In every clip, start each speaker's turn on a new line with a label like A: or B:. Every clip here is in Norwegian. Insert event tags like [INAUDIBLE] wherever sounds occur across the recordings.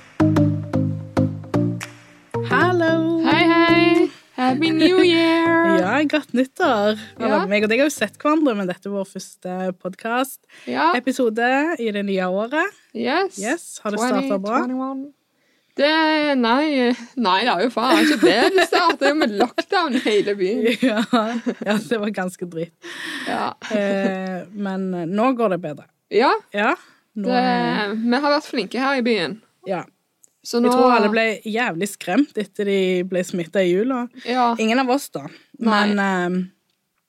A: [LAUGHS] Godt nyttår. Eller,
B: Ja.
A: Meg og deg har jo sett hverandre, men dette er vår første podkast-episode
B: Ja.
A: i det nye året.
B: Yes.
A: Yes, Har det starta bra?
B: 2021. Det Nei, nei, det er jo faen ikke det det starter. Det er jo med lockdown i hele byen.
A: [LAUGHS] Ja, ja, det var ganske dritt.
B: Ja.
A: Eh, men nå går det bedre.
B: ja
A: Ja. Nå,
B: det, vi har vært flinke her i byen.
A: ja.
B: Så nå
A: Jeg tror alle ble jævlig skremt etter de ble smitta i jula.
B: Ja.
A: Ingen av oss, da. Men eh,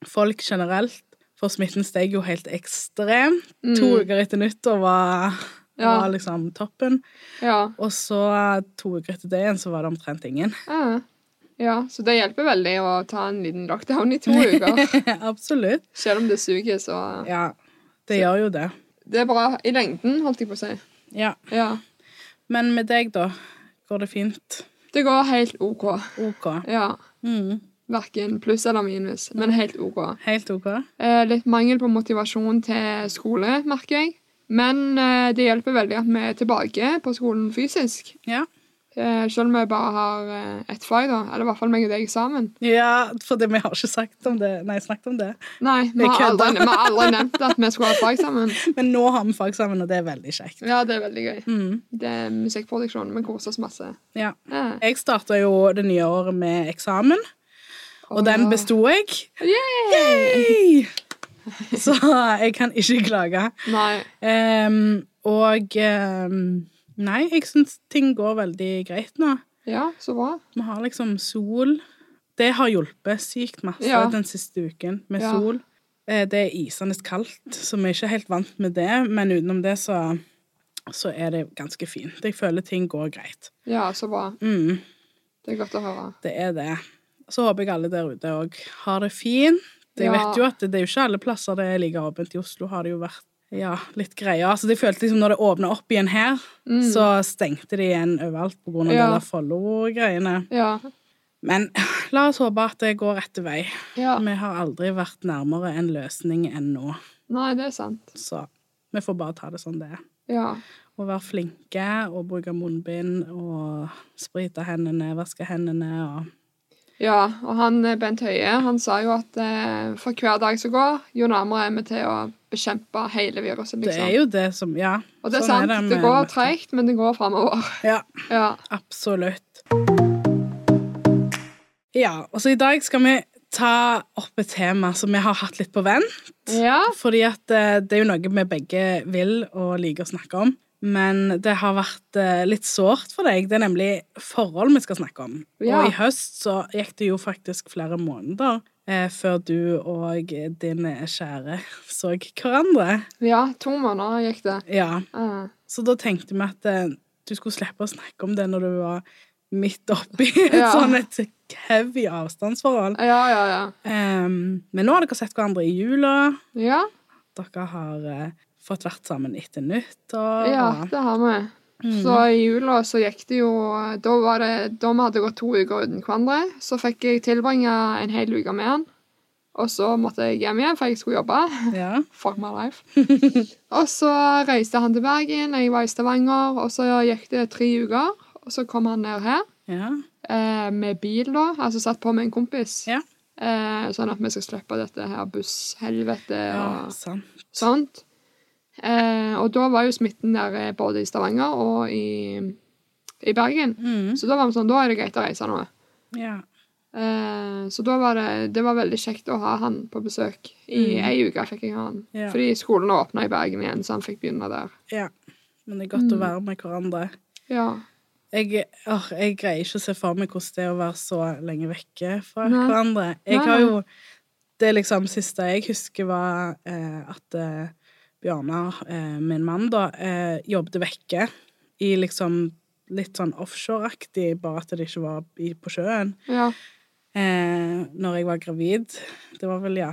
A: folk generelt. For smitten steg jo helt ekstremt. To uker etter nyttår var,
B: Mm. Ja.
A: var liksom toppen.
B: ja.
A: Og så eh, to uker etter det igjen så var det omtrent ingen. [LAUGHS]
B: Ja. Ah. Ja, så det hjelper veldig å ta en liten lockdown i
A: [LAUGHS]
B: to uker.
A: Absolutt.
B: Selv om det suger, så
A: Ja, det gjør jo det.
B: Det er bra i lengden, holdt jeg på å si.
A: Ja.
B: Ja.
A: Men med deg, da? Går det fint?
B: Det går helt OK.
A: OK.
B: Ja.
A: Mm.
B: Verken pluss eller minus, men helt OK.
A: Helt OK?
B: Eh, litt mangel på motivasjon til skole, merker jeg. Men eh, det hjelper veldig at vi er tilbake på skolen fysisk.
A: Ja.
B: Eh, selv om vi bare har eh, ett fag, da. Eller i hvert fall meg og deg sammen.
A: Ja, for det, vi har ikke sagt om det. Nei, snakket om det.
B: Nei, vi
A: Jeg
B: har aldri,
A: kødder.
B: vi har aldri nevnt at vi skulle ha et fag sammen.
A: Men nå har vi fag sammen, og det er veldig kjekt.
B: Ja, det er veldig gøy.
A: [LAUGHS] Mm.
B: Det er musikkproduksjon. Vi koser oss masse.
A: Ja.
B: Ja.
A: Jeg starta jo det nye året med eksamen, og den besto jeg.
B: Yay!
A: Yay! Så eh, jeg kan ikke klage.
B: Nei.
A: Ehm, og ehm, Nei, jeg syns ting går veldig greit nå.
B: Ja, så bra.
A: Vi har liksom sol. Det har hjulpet sykt masse
B: Ja.
A: den siste uken med
B: Ja.
A: sol. Eh, Det er isende kaldt, så vi er ikke helt vant med det, men utenom det så, så er det ganske fint. Jeg føler ting går greit.
B: Ja, så bra.
A: Mm,
B: Det er godt å høre.
A: det er det. Så håper jeg alle der ute òg har det fint. Jeg
B: Ja.
A: vet jo at det er jo ikke alle plasser det er like åpent. I Oslo har det jo vært ja, litt greier. Så jeg følte liksom når det åpna opp igjen her, så stengte de igjen overalt på grunn av
B: Mm. Ja.
A: det der Follo-greiene.
B: Ja.
A: Men la oss håpe at det går rette vei.
B: ja.
A: Vi har aldri vært nærmere en løsning enn nå,
B: Nei, det er sant.
A: så vi får bare ta det som det er.
B: Ja.
A: Og være flinke og bruke munnbind og sprite hendene, vaske hendene og
B: Ja, og han eh, Bent Høie han sa jo at eh, for hver dag som går, jo nærmere er vi til å bekjempe hele viruset.
A: Det
B: liksom.
A: er jo det som Ja.
B: og det er
A: sånn
B: sant. det,
A: med-
B: går tregt, men det går framover. [LAUGHS]
A: Ja,
B: Ja.
A: absolutt. Ja, og så i dag skal vi ta opp et tema som vi har hatt litt på venn.
B: ja.
A: Fordi at eh, det er jo noe vi begge vil og liker å snakke om. Men det har vært eh, litt sårt for deg. Det er nemlig forhold vi skal snakke om.
B: Ja.
A: Og i høst så gikk det jo faktisk flere måneder eh, før du og din kjære så hverandre.
B: ja, to måneder gikk det.
A: Ja.
B: Eh,
A: Så da tenkte vi at eh, du skulle slippe å snakke om det når du var midt oppi et
B: [LAUGHS] Ja.
A: sånn et heavy avstandsforhold.
B: ja, ja, ja.
A: Em, men nå har dere sett hverandre i jula.
B: Ja,
A: Dere har eh, fått vært sammen etter nyttår.
B: ja
A: og-
B: det har vi.
A: Mm.
B: Så i jula så gikk det jo Da var det, da vi hadde gått to uker uten hverandre, så fikk jeg tilbringe en hel uke med han. Og så måtte jeg hjem igjen, for jeg skulle jobbe.
A: Ja.
B: Fuck my life. [LAUGHS] og så reiste han til Bergen, og jeg var i Stavanger, og så gikk det tre uker. Og så kom han ned her
A: ja.
B: eh, med bil, da. Altså satt på med en kompis.
A: Ja.
B: Eh, sånn at vi skal slippe dette her busshelvete
A: Ja,
B: og
A: sant.
B: sånt. Eh, og da var jo smitten der eh, både i Stavanger og i, i Bergen.
A: Mm.
B: Så da var vi sånn, da er det greit å reise nå.
A: Ja.
B: Eh, så da var det, det var veldig kjekt å ha han på besøk. I
A: Mm.
B: ei uke fikk jeg ha han.
A: Ja.
B: Fordi skolen åpna i Bergen igjen, så han fikk begynne der.
A: ja. Men det er godt å være med hverandre.
B: Ja.
A: Jeg, åh, jeg greier ikke å se for meg hvordan det er å være så lenge vekke fra
B: Nei.
A: hverandre. Jeg
B: Nei,
A: har
B: nei.
A: jo Det liksom siste jeg husker, var eh, at eh, Bjørnar, eh, min mann, da, eh, jobbet vekke i liksom litt sånn offshore-aktig, bare at det ikke var i, på sjøen.
B: ja.
A: eh, når jeg var gravid. Det var vel, ja,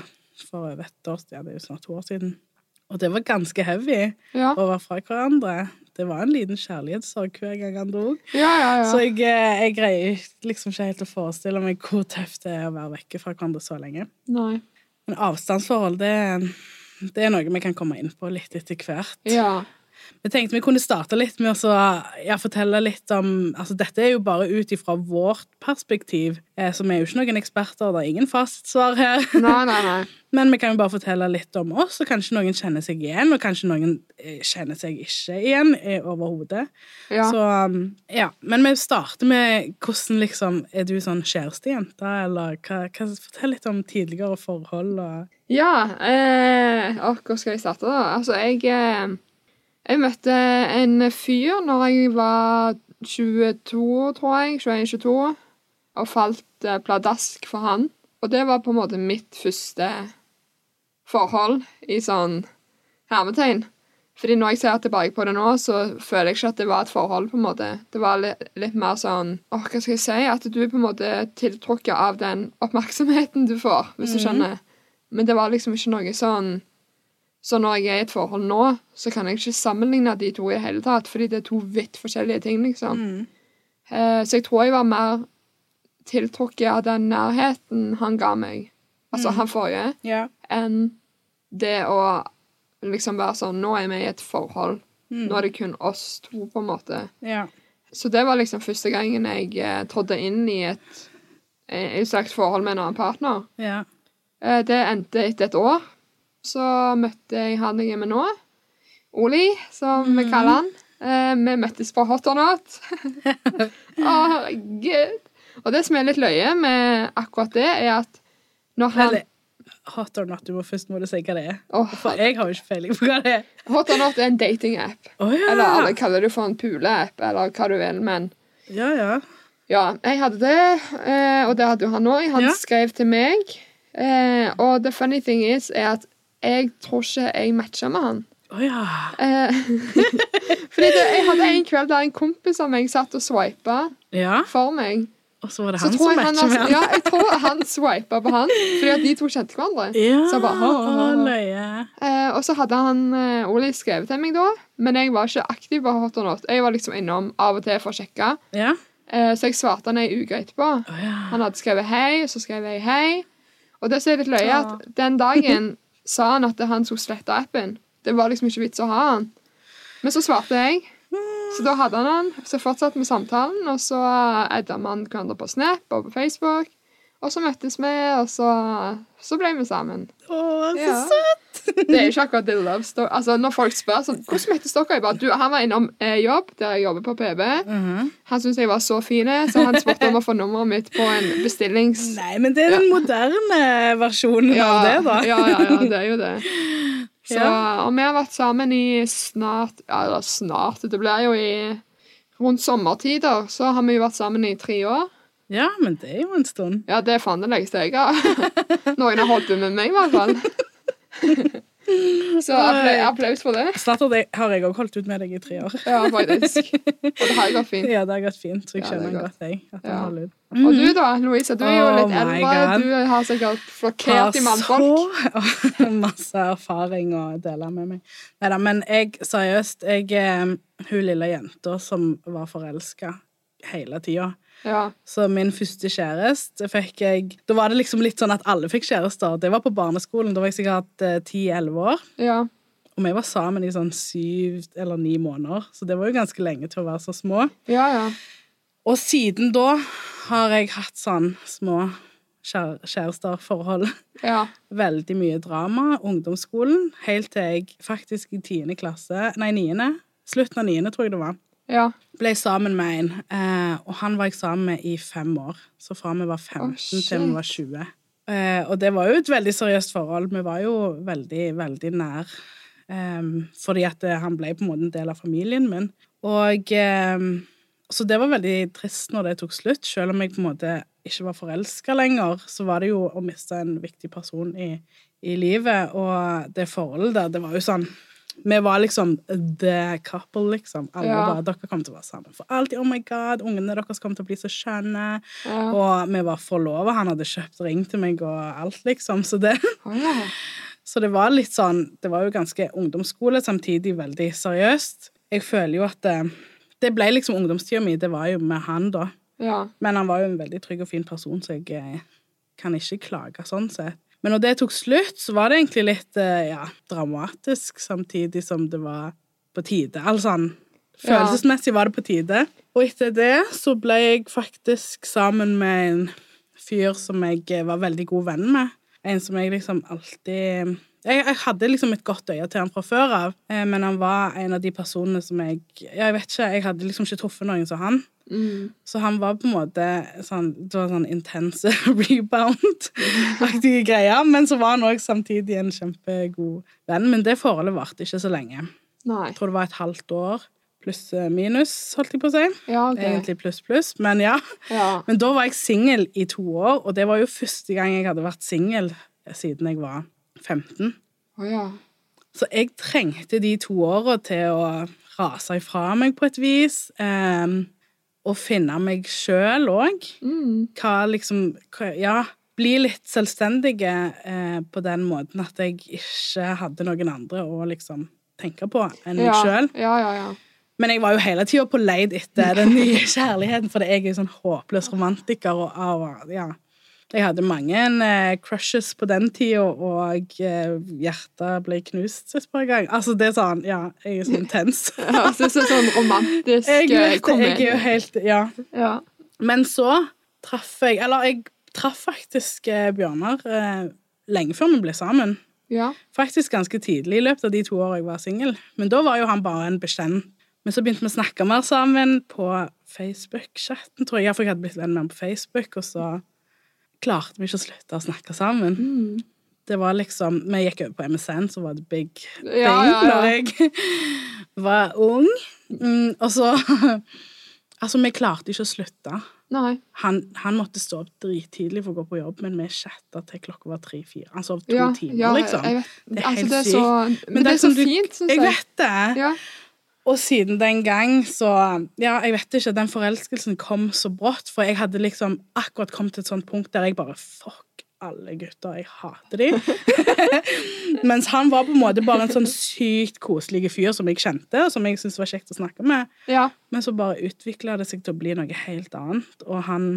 A: for over et år siden. Ja, det er jo snart to år siden. Og det var ganske heavy
B: Ja.
A: å være fra hverandre. Det var en liten kjærlighetssorg hver gang han dro.
B: Ja, ja, ja.
A: Så jeg, eh, jeg greier liksom ikke helt å forestille meg hvor tøft det er å være vekke fra hverandre så lenge.
B: Nei.
A: Men avstandsforhold, det, det er noe vi kan komme inn på litt etter hvert.
B: Ja.
A: Vi tenkte vi kunne starte litt med å så, ja, fortelle litt om altså Dette er jo bare ut ifra vårt perspektiv, eh, så vi er jo ikke noen eksperter. Det er ingen fastsvar her. [LAUGHS]
B: Nei, nei, nei.
A: Men vi kan jo bare fortelle litt om oss, og kanskje noen kjenner seg igjen, og kanskje noen eh, kjenner seg ikke igjen eh, overhodet.
B: Ja.
A: Så um, ja. Men vi starter med hvordan liksom Er du sånn kjærestejente, eller hva, hva Fortell litt om tidligere forhold og
B: Ja, eh, og hvor skal jeg starte da? Altså, jeg, eh, jeg møtte en fyr når jeg var 22, tror jeg, 21-22, og falt eh, pladask for han. Og det var på en måte mitt første forhold i sånn hermetegn. Fordi når jeg ser tilbake på det nå, så føler jeg ikke at det var et forhold, på en måte. Det var litt, litt mer sånn, åh, hva skal jeg si, at du er på en måte tiltrukket av den oppmerksomheten du får, hvis du
A: Mhm.
B: skjønner. Men det var liksom ikke noe sånn Så når jeg er i et forhold nå, så kan jeg ikke sammenligne de to i det hele tatt, fordi det er to vidt forskjellige ting, liksom.
A: mm.
B: Eh, så jeg tror jeg var mer tiltrukket av den nærheten han ga meg, altså
A: Mhm.
B: han forrige,
A: Ja.
B: enn det å liksom være sånn Nå er vi i et forhold.
A: Mm.
B: Nå er det kun oss to, på en måte.
A: ja.
B: Så det var liksom første gangen jeg eh, trådte inn i et, eh, i et slags forhold med en annen partner.
A: Ja.
B: Eh, Det endte etter et år. Så møtte jeg han jeg er med nå, Oli, som vi
A: Mhm.
B: kaller han. Eh, Vi møttes på Hot
A: [LAUGHS]
B: or Not. Å, herregud. Og det som er litt løye med akkurat det, er at når han
A: Eller hot or not, du må først må du si hva det er.
B: Åh,
A: For jeg har jo ikke peiling på hva det er.
B: Hot or Not er en datingapp.
A: Å ja.
B: Eller alle kaller det for en puleapp, eller hva du vil, men
A: ja, ja.
B: Ja, jeg hadde det, eh, og det hadde jo han òg. Han
A: Ja.
B: skrev til meg. eh, Og the funny thing is er at jeg tror ikke jeg matcha med han.
A: Å ja.
B: Eh, [LAUGHS] Fordi det, jeg hadde en kveld der en kompis av meg satt og swipa
A: Ja,
B: for meg.
A: og så var det
B: Så
A: han
B: tror
A: som
B: jeg han,
A: matcha med
B: var-
A: han.
B: ja, jeg tror han swipa på han, fordi at de to kjente hverandre.
A: Ja,
B: Så jeg bare, «Hå, hå,
A: å,
B: hå».
A: løye.
B: Eh, og så hadde han eh, Oli skrevet til meg da, men jeg var ikke aktiv på Hot or Not. Jeg var liksom innom av og til for å sjekke,
A: Ja.
B: eh, så jeg svarte han ei uke etterpå.
A: Å ja.
B: Han hadde skrevet hei, og så skrev jeg hei. Og det som er litt løye, er
A: Ah.
B: at den dagen sa han at han skulle slette appen. Det var liksom ikke vits å ha han. Men så svarte jeg. Så da hadde han han. Så fortsatte vi samtalen, og så edda vi han hverandre på Snap og på Facebook. Og så møttes vi, og så, så ble vi sammen.
A: Å, så
B: Ja.
A: søt!
B: Det er ikke akkurat the love story. Altså, når folk spør sånn, hvordan møttes dere? Jeg bare, du, han var innom eh, jobb, der jeg jobber på PB.
A: Mhm.
B: Han syntes jeg var så fin, så han spurte om å få nummeret mitt på en bestillings...
A: Nei, men det er den moderne versjonen av det, da.
B: ja, ja, ja, det er jo
A: [LAUGHS]
B: det. Så,
A: Ja.
B: Og vi har vært sammen i snart ja, Eller snart, det blir jo i Rundt sommertider så har vi jo vært sammen i tre år.
A: Ja, men det er jo en stund.
B: Ja, det er faen det lengste jeg har. [LAUGHS] Noen har holdt på med meg, i hvert
A: [LAUGHS]
B: fall. Så applaus, applaus for det.
A: Snart har jeg- har jeg òg holdt ut med deg i tre år. [LAUGHS]
B: Ja, faktisk. Og det har gått fint.
A: Ja, det har gått fint. Så jeg
B: Ja, det er
A: skjønner
B: godt.
A: godt, jeg. At
B: Ja.
A: han holder ut.
B: Og du da, Louise, du er jo
A: Mm. Oh
B: litt
A: my
B: eldre.
A: God.
B: Du har sikkert flokkert i mannfolk.
A: Har så [LAUGHS] masse erfaring å dele med meg. Neida, men jeg, seriøst, jeg eh, Hun lille jenta som var forelska hele tida.
B: Ja.
A: Så min første kjæreste fikk jeg Da var det liksom litt sånn at alle fikk kjærester. Det var på barneskolen. Da var jeg sikkert eh, ti-elleve år.
B: ja.
A: Og vi var sammen i sånn syv eller ni måneder, så det var jo ganske lenge til å være så små.
B: Ja, ja.
A: Og siden da har jeg hatt sånn små kjær- kjærester-forhold.
B: Ja.
A: [LAUGHS] Veldig mye drama, ungdomsskolen, helt til jeg faktisk i tiende klasse, nei, niende, slutten av niende tror jeg det var,
B: ja.
A: ble sammen med en, eh, og han var jeg sammen med i fem år, så fra vi var 15 til vi
B: shit.
A: var 20. Eh, og det var jo et veldig seriøst forhold, vi var jo veldig, veldig nær, em, fordi at eh, han ble på en måte en del av familien min. Og em, så det var veldig trist når det tok slutt, selv om jeg på en måte ikke var forelska lenger, så var det jo å miste en viktig person i, i livet, og det forholdet der, det var jo sånn Vi var liksom the couple, liksom. Alle
B: Ja.
A: bare 'Dere kommer til å være sammen for alltid. Oh my God. Ungene deres kommer til å bli så skjønne.'
B: ja.
A: Og vi var forlova. Han hadde kjøpt ring til meg og alt, liksom. Så det [LAUGHS]
B: Å, ja.
A: så det var litt sånn Det var jo ganske ungdomsskole, samtidig veldig seriøst. Jeg føler jo at det, det ble liksom ungdomstida mi. Det var jo med han, da.
B: ja.
A: Men han var jo en veldig trygg og fin person, så jeg eh, kan ikke klage sånn sett. Men når det tok slutt, så var det egentlig litt eh, ja, dramatisk, samtidig som det var på tide. Altså sånn Følelsesmessig var det på tide. Og etter det så ble jeg faktisk sammen med en fyr som jeg eh, var veldig god venn med. En som jeg liksom alltid Jeg, jeg hadde liksom et godt øye til han fra før av, eh, men han var en av de personene som jeg Jeg vet ikke, jeg hadde liksom ikke truffet noen som han.
B: Mm.
A: Så han var på en måte sånn, det var sånn intense [LAUGHS] rebound-aktige greier. Men så var han òg samtidig en kjempegod venn. Men det forholdet varte ikke så lenge.
B: Nei.
A: Jeg tror det var et halvt år pluss eh, minus, holdt jeg på å si.
B: Ja, ok.
A: Egentlig pluss, pluss, men ja.
B: Ja.
A: Men da var jeg singel i to år, og det var jo første gang jeg hadde vært singel eh, siden jeg var 15.
B: Å ja.
A: Så jeg trengte de to åra til å rase ifra meg på et vis. eh, og finne meg sjøl òg.
B: Mm.
A: Hva liksom hva, Ja, bli litt selvstendige eh, på den måten at jeg ikke hadde noen andre å liksom tenke på enn meg
B: ja.
A: sjøl.
B: Ja, ja, ja.
A: Men jeg var jo hele tida på leid etter den nye kjærligheten, for jeg er jo sånn håpløs romantiker. Og, og ja. Jeg hadde mange eh, crushes på den tida, og eh, hjertet ble knust et par ganger. Altså, det er sånn Ja, jeg er så intens.
B: Det høres ut som en sånn romantisk
A: Jeg
B: eh,
A: vet det.
B: komedie.
A: Jeg er jo helt Ja.
B: Ja.
A: Men så traff jeg Eller jeg traff faktisk eh, Bjørnar eh, lenge før vi ble sammen.
B: ja.
A: Faktisk ganske tidlig i løpet av de to årene jeg var singel. Men da var jo han bare en bekjent. Men så begynte vi å snakke mer sammen på Facebook-chatten, tror jeg. For jeg hadde blitt venn med ham på Facebook, og så klarte vi ikke å slutte å snakke sammen.
B: Mm.
A: Det var liksom Vi gikk over på MSN, så var det big
B: Ja,
A: thing
B: ja, ja.
A: når jeg [LAUGHS] var ung. Mm, og så [LAUGHS] Altså, vi klarte ikke å slutte
B: Nei.
A: han, han måtte stå opp drittidlig for å gå på jobb, men vi chatta til klokka var tre-fire. Han sov to
B: Ja,
A: timer,
B: ja,
A: liksom.
B: jeg vet.
A: Det er
B: altså,
A: helt
B: det er
A: sykt.
B: så, men, det er så
A: som du-
B: fint, syns
A: Jeg
B: jeg.
A: vet det!
B: Ja.
A: Og siden den gang, så Ja, jeg vet ikke, den forelskelsen kom så brått, for jeg hadde liksom akkurat kommet til et sånt punkt der jeg bare Fuck alle gutter, jeg hater de. [LAUGHS] Mens han var på en måte bare en sånn sykt koselig fyr som jeg kjente, og som jeg syntes var kjekt å snakke med.
B: ja.
A: Men så bare utvikla det seg til å bli noe helt annet, og han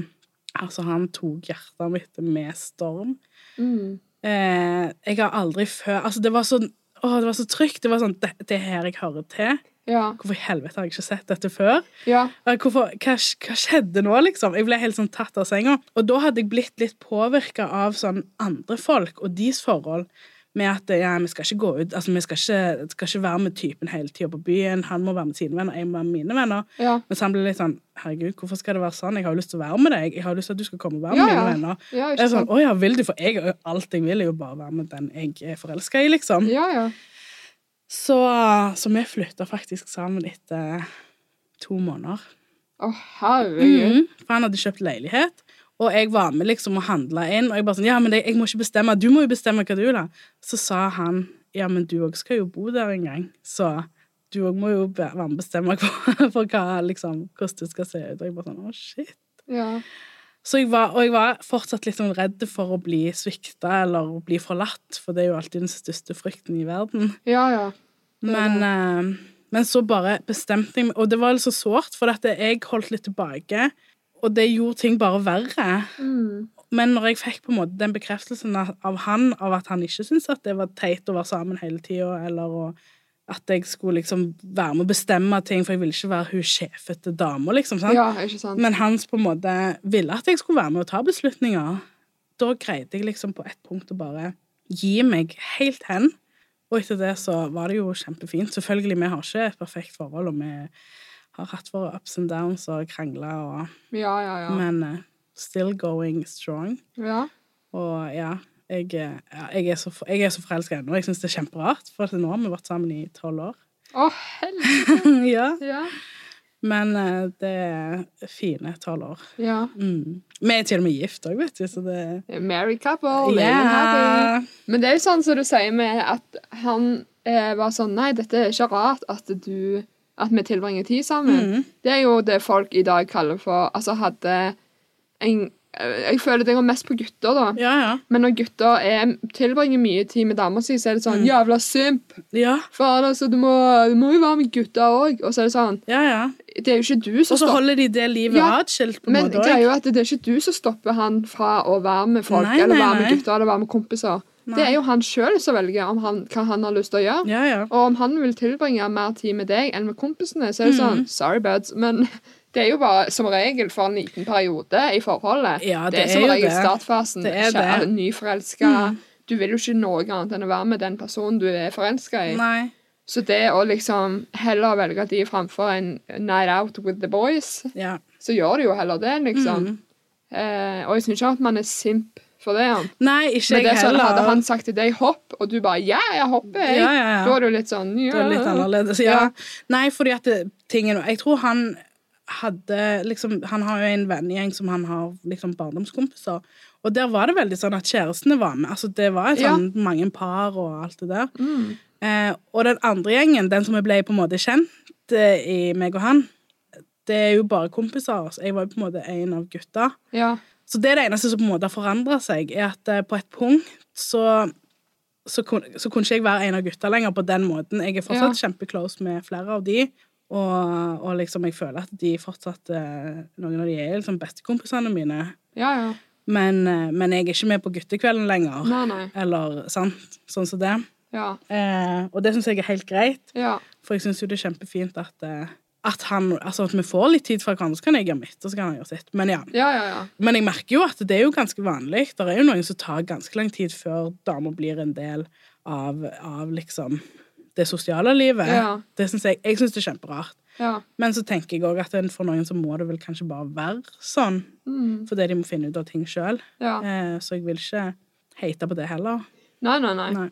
A: Altså, han tok hjertet mitt med storm.
B: Mm.
A: Eh, jeg har aldri før Altså, det var så Åh, det var så trygt. Det var sånn Det, det er her jeg hører til.
B: ja.
A: Hvorfor i helvete har jeg ikke sett dette før?
B: Ja.
A: Eh, Hvorfor, hva, sk- hva skjedde nå, liksom? Jeg ble helt sånn tatt av senga. Og da hadde jeg blitt litt påvirka av sånn andre folk og deres forhold. Med at eh, ja, vi skal ikke gå ut Altså, vi skal ikke, skal ikke være med typen hele tida på byen. Han må være med sine venner, jeg må være med mine venner.
B: Ja.
A: Mens han ble litt sånn Herregud, hvorfor skal det være sånn? Jeg har jo lyst til å være med deg. Jeg har jo lyst til at du skal komme og være med
B: Ja, ja.
A: mine venner.
B: Ja,
A: Jeg
B: ikke
A: er sånn,
B: sant.
A: Å ja, vil du? For jeg, alt jeg vil, er jo bare være med den jeg er forelska i, liksom.
B: Ja, ja.
A: Så, så vi flytta faktisk sammen etter eh, to måneder.
B: Å, herregud.
A: Mhm. For han hadde kjøpt leilighet, og jeg var med liksom og handla inn. Og jeg bare sånn Ja, men det, jeg må ikke bestemme. Du må jo bestemme hva du vil ha. Så sa han ja, men du òg skal jo bo der en gang, så du òg må jo be- være med og bestemme [LAUGHS] for, for hva, liksom, hvordan det skal se ut. Og jeg bare sånn Å, shit.
B: Ja.
A: Så jeg var, og jeg var fortsatt litt sånn redd for å bli svikta eller å bli forlatt, for det er jo alltid den største frykten i verden.
B: Ja, ja. Det er
A: Men, eh, men så bare bestemte jeg meg, og det var litt så sårt, for at jeg holdt litt tilbake, og det gjorde ting bare verre.
B: Mm.
A: Men når jeg fikk på en måte den bekreftelsen av, av han, av at han ikke syntes at det var teit å være sammen hele tida, eller å, at jeg skulle liksom være med og bestemme ting, for jeg ville ikke være hun sjefete dama, liksom. sant?
B: Ja, ikke sant.
A: Men hans på en måte ville at jeg skulle være med og ta beslutninger. Da greide jeg liksom på et punkt å bare gi meg helt hen. Og etter det så var det jo kjempefint. Selvfølgelig, vi har ikke et perfekt forhold, og vi har hatt våre ups and downs og krangla og
B: Ja, ja, ja.
A: Men eh, still going strong.
B: Ja. Og
A: Og ja, jeg, eh, ja, jeg er så, for- jeg er så forelska ennå. Jeg syns det er kjemperart, for at nå har vi vært sammen i tolv år. [LAUGHS]
B: Å, helvete!
A: ja.
B: Ja.
A: Men eh, det er fine tolv år.
B: ja.
A: Mm. Vi er til og med gift òg, vet du, så det
B: Married couple. living happy.
A: yeah.
B: Men det er jo sånn som du sier med at han eh, var sånn Nei, dette er ikke rart at du At vi tilbringer tid sammen.
A: Mhm.
B: Det er jo det folk i dag kaller for Altså hadde en eh, Jeg føler det går mest på gutter, da.
A: Ja, ja.
B: Men når gutter er, tilbringer mye tid med damer si, så er det sånn
A: Mhm.
B: Jævla simp!
A: Ja,
B: Faen, altså, du må, du må jo være med gutter òg. Og så er det sånn
A: ja, ja.
B: Det er jo ikke du
A: Og
B: som
A: så
B: stopper
A: holder de det livet
B: Ja,
A: atskilt, på en
B: Men
A: måte
B: greia er
A: òg.
B: jo at det er ikke du som stopper han fra å være med folk
A: Nei,
B: eller
A: nei,
B: være med
A: nei.
B: gutter eller være med kompiser. Det er jo han sjøl som velger om han, hva han har lyst til å gjøre.
A: Ja, ja.
B: Og om han vil tilbringe mer tid med deg enn med kompisene, så er det
A: Mm.
B: sånn Sorry, buds. Men [LAUGHS] det er jo bare som regel for en liten periode i forholdet.
A: Ja, det er
B: som
A: jo
B: regel
A: det.
B: startfasen.
A: Det er
B: kjære,
A: det. Mm.
B: Nyforelska. Du vil jo ikke noe annet enn å være med den personen du er forelska i.
A: Nei.
B: Så det å liksom heller velge de framfor en night out with the boys,
A: Ja.
B: så gjør du jo heller det, liksom.
A: Mm.
B: Eh, og jeg syns ikke at man er simp for det. Han.
A: Nei, ikke
B: Men det
A: jeg
B: er sånn,
A: heller.
B: hadde han sagt til deg 'hopp', og du bare 'ja, jeg hopper', jeg.
A: Ja, ja, ja.
B: da er du litt sånn ja.
A: Det var litt annerledes. Ja.
B: Ja.
A: Nei, fordi at det, tingen Jeg tror han hadde liksom Han har jo en vennegjeng som han har liksom barndomskompiser, og der var det veldig sånn at kjærestene var med. Altså, det var
B: Ja.
A: sånn mange par og alt det der.
B: Mm.
A: Eh, og den andre gjengen, den som vi ble på en måte kjent eh, i, meg og han, det er jo bare kompiser. Så jeg var jo på en måte en av gutta.
B: Ja.
A: Så det er det eneste som på en måte har forandra seg, er at eh, på et punkt så så, kun, så kunne ikke jeg være en av gutta lenger på den måten. Jeg er fortsatt kjempeclose med flere av de, og, og liksom jeg føler at de fortsatt eh, Noen av de er liksom bestekompisene mine,
B: ja, ja.
A: men, eh, men jeg er ikke med på guttekvelden lenger.
B: Nei, nei.
A: Eller sant, sånn som det.
B: Ja.
A: Eh, og det syns jeg er helt greit,
B: ja.
A: for jeg syns jo det er kjempefint at, eh, at, han, altså at vi får litt tid fra hverandre, så kan jeg gjøre mitt, og så kan han gjøre sitt. Men ja.
B: Ja, ja, ja.
A: Men jeg merker jo at det er jo ganske vanlig. Det er jo noen som tar ganske lang tid før damer blir en del av, av liksom det sosiale livet.
B: Ja.
A: Det synes jeg, jeg syns det er kjemperart.
B: ja.
A: Men så tenker jeg òg at en- for noen så må det vel kanskje bare være sånn.
B: Mm.
A: Fordi de må finne ut av ting sjøl.
B: ja.
A: Eh, så jeg vil ikke hate på det heller.
B: Nei, nei, nei.
A: Nei.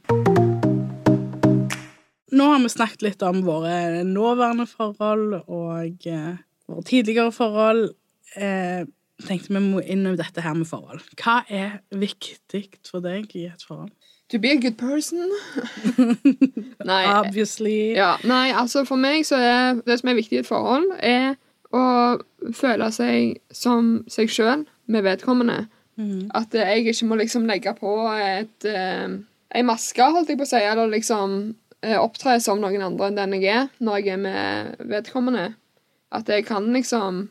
A: Nå har vi snakket litt om våre nåværende forhold og eh, våre tidligere forhold. Eh, tenkte vi må innom dette her med forhold. Hva er viktig for deg i et forhold?
B: To be a good person. [LAUGHS] nei.
A: Obviously.
B: Ja. Nei, altså for meg så er det som er viktig i et forhold, er å føle seg som seg sjøl med vedkommende.
A: Mhm.
B: At eh, jeg ikke må liksom legge på et, eh, en maske, holdt jeg på å si, eller liksom eh, opptre som noen andre enn den jeg er, når jeg er med vedkommende. At jeg kan liksom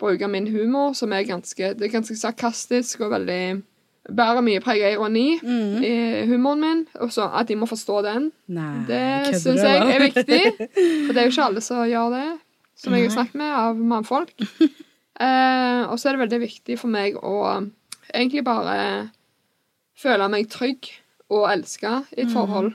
B: bruke min humor, som er ganske, det er ganske sarkastisk og veldig Bærer mye preg av ironi
A: Mhm.
B: i humoren min. Og så at de må forstå den.
A: Nei, kødder
B: Det
A: du,
B: syns jeg
A: eller?
B: er
A: [LAUGHS]
B: viktig. For det er jo ikke alle som gjør det, som jeg har snakket med, av mannfolk.
A: [LAUGHS]
B: Eh, og så er det veldig viktig for meg å egentlig bare føle meg trygg og elska
A: Mhm.
B: i et forhold.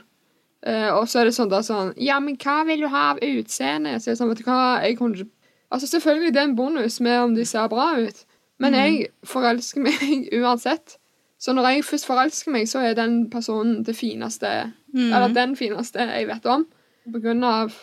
B: Eh, og så er det sånn da sånn Ja, men hva vil du ha av utseende? Så er det sånn, vet du hva, jeg kunne ikke Altså, selvfølgelig, det er en bonus med om de ser bra ut, men
A: Mhm.
B: jeg forelsker [LAUGHS] meg uansett. Så når jeg først forelsker meg, så er den personen det fineste
A: Mhm.
B: eller den fineste jeg vet om. På grunn av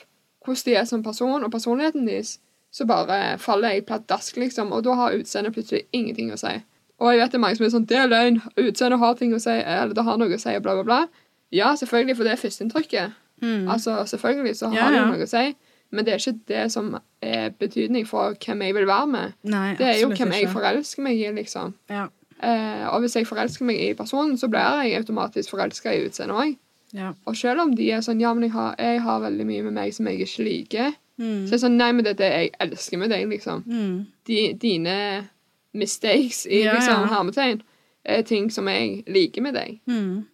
B: hvordan de er som person og personligheten deres, så bare faller jeg pladask, liksom. Og da har utseendet plutselig ingenting å si. Og jeg vet det er mange som er sånn 'Det er løgn. Utseendet har ting å si.' Eller 'det har noe å si', bla, bla, bla. Ja, selvfølgelig, for det er førsteinntrykket.
A: Mhm.
B: Altså, selvfølgelig så har
A: Ja,
B: det
A: ja.
B: jo noe å si. Men det er ikke det som er betydning for hvem jeg vil være med.
A: Nei,
B: Det er jo
A: absolutt
B: hvem jeg
A: ikke.
B: forelsker meg i, liksom.
A: Ja.
B: Eh, og hvis jeg forelsker meg i personen, så blir jeg automatisk forelska i utseendet òg.
A: ja.
B: Og selv om de er sånn Ja, men jeg har, jeg har veldig mye med meg som jeg ikke liker.
A: Mhm.
B: Så er det sånn Nei, men det er det jeg elsker med deg, liksom.
A: Mhm.
B: De, dine mistakes i
A: Ja,
B: liksom
A: ja.
B: hermetegn er ting som jeg liker med deg.
A: Mhm.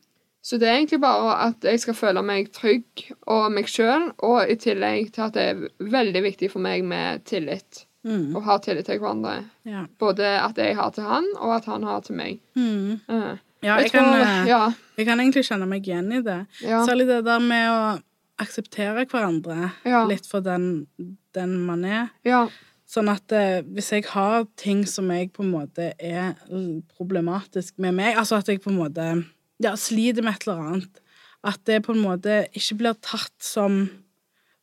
B: Så det er egentlig bare at jeg skal føle meg trygg og meg sjøl, og i tillegg til at det er veldig viktig for meg med tillit.
A: Mhm.
B: Å ha tillit til hverandre.
A: Ja.
B: Både at jeg har til han, og at han har til meg.
A: Mhm.
B: Eh,
A: ja,
B: og
A: jeg kan, eh,
B: Ja.
A: jeg kan egentlig kjenne meg igjen i det.
B: Ja.
A: Særlig det der med å akseptere hverandre
B: Ja.
A: litt for den, den man er.
B: ja.
A: Sånn at eh, hvis jeg har ting som jeg på en måte er l- problematisk med meg, altså at jeg på en måte ja, sliter med et eller annet, at det på en måte ikke blir tatt som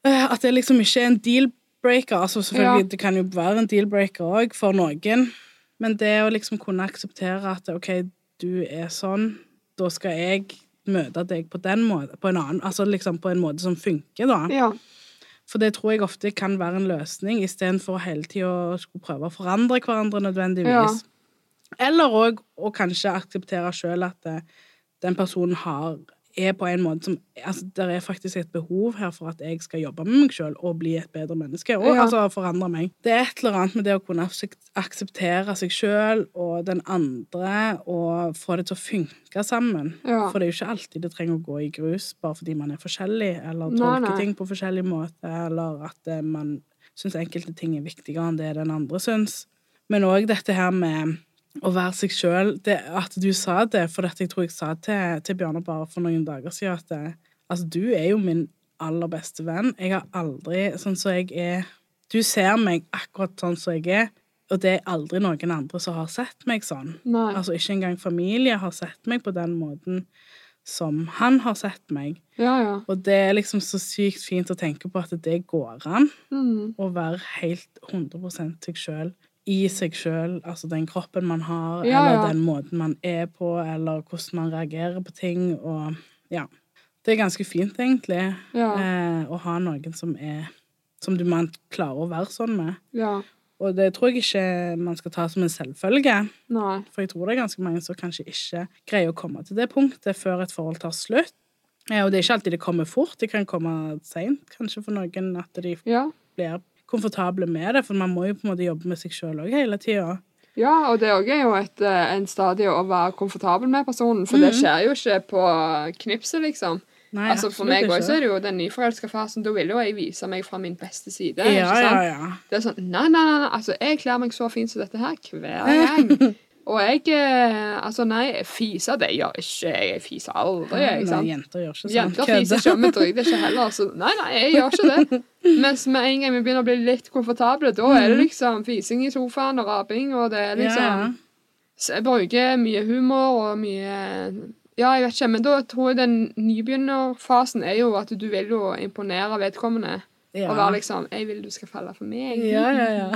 A: eh, At det liksom ikke er en deal-breaker. Altså selvfølgelig,
B: Ja.
A: det kan jo være en deal-breaker òg for noen, men det å liksom kunne akseptere at OK, du er sånn, da skal jeg møte deg på den måten, på en annen, altså liksom på en måte som funker, da.
B: ja.
A: For det tror jeg ofte kan være en løsning, istedenfor hele tida å skulle prøve å forandre hverandre nødvendigvis. Eller òg å kanskje akseptere sjøl at eh, den personen har er på en måte som altså, Det er faktisk et behov her for at jeg skal jobbe med meg sjøl og bli et bedre menneske. Og
B: Ja.
A: altså forandre meg. Det er et eller annet med det å kunne aksep- akseptere seg sjøl og den andre, og få det til å funke sammen.
B: Ja.
A: For det er jo ikke alltid det trenger å gå i grus bare fordi man er forskjellig, eller
B: Nei,
A: tolker
B: nei.
A: ting på forskjellig måte, eller at eh, man syns enkelte ting er viktigere enn det den andre syns. Men òg dette her med å være seg sjøl. At du sa det, for dette jeg tror jeg sa til, til Bjarne bare for noen dager siden, at eh, altså, du er jo min aller beste venn. Jeg har aldri Sånn som jeg er Du ser meg akkurat sånn som jeg er, og det er aldri noen andre som har sett meg sånn.
B: Nei.
A: Altså ikke engang familie har sett meg på den måten som han har sett meg.
B: Ja, ja.
A: Og det er liksom så sykt fint å tenke på at det går an
B: Mm.
A: å være helt 100 seg sjøl i seg sjøl, altså den kroppen man har,
B: Ja,
A: eller
B: ja.
A: den måten man er på, eller hvordan man reagerer på ting, og ja. Det er ganske fint, egentlig,
B: Ja.
A: eh, å ha noen som er Som du man klarer å være sånn med.
B: Ja.
A: Og det tror jeg ikke man skal ta som en selvfølge.
B: Nei.
A: For jeg tror det er ganske mange som kanskje ikke greier å komme til det punktet før et forhold tar slutt. Eh, Og det er ikke alltid det kommer fort. Det kan komme seint, kanskje, for noen. At de
B: Ja.
A: blir komfortable med det. For man må jo på en måte jobbe med seg sjøl òg hele tida.
B: Ja, og det òg er jo et, eh, en stadie å være komfortabel med personen, for det skjer jo ikke på knipset, liksom.
A: Mm. Nei,
B: altså, for
A: absolutt
B: meg
A: ikke.
B: òg er det jo den nyforelska fasen. Da vil jo jeg vise meg fra min beste side.
A: Ja,
B: ikke sant?
A: ja, ja.
B: Det er sånn Nei, nei, nei. nei, Altså, jeg kler meg så fint som dette her hver gang.
A: [LAUGHS]
B: Og jeg eh, Altså, nei, fise det gjør ikke jeg. Jeg fiser aldri, jeg.
A: Nei,
B: ikke sant?
A: jenter gjør ikke sånn.
B: Jenter
A: Kødder.
B: fiser ikke, men driter ikke heller. Så nei, nei, jeg gjør ikke det. Mens med en gang vi begynner å bli litt komfortable, da er det liksom fising i sofaen og raping, og det er
A: Mm.
B: liksom
A: Ja, ja.
B: så jeg bruker mye humor og mye Ja, jeg vet ikke, men da tror jeg den nybegynnerfasen er jo at du vil jo imponere vedkommende.
A: Ja.
B: Og være liksom 'Jeg vil du skal falle for meg'.
A: Ja, ja,
B: [LAUGHS]
A: ja.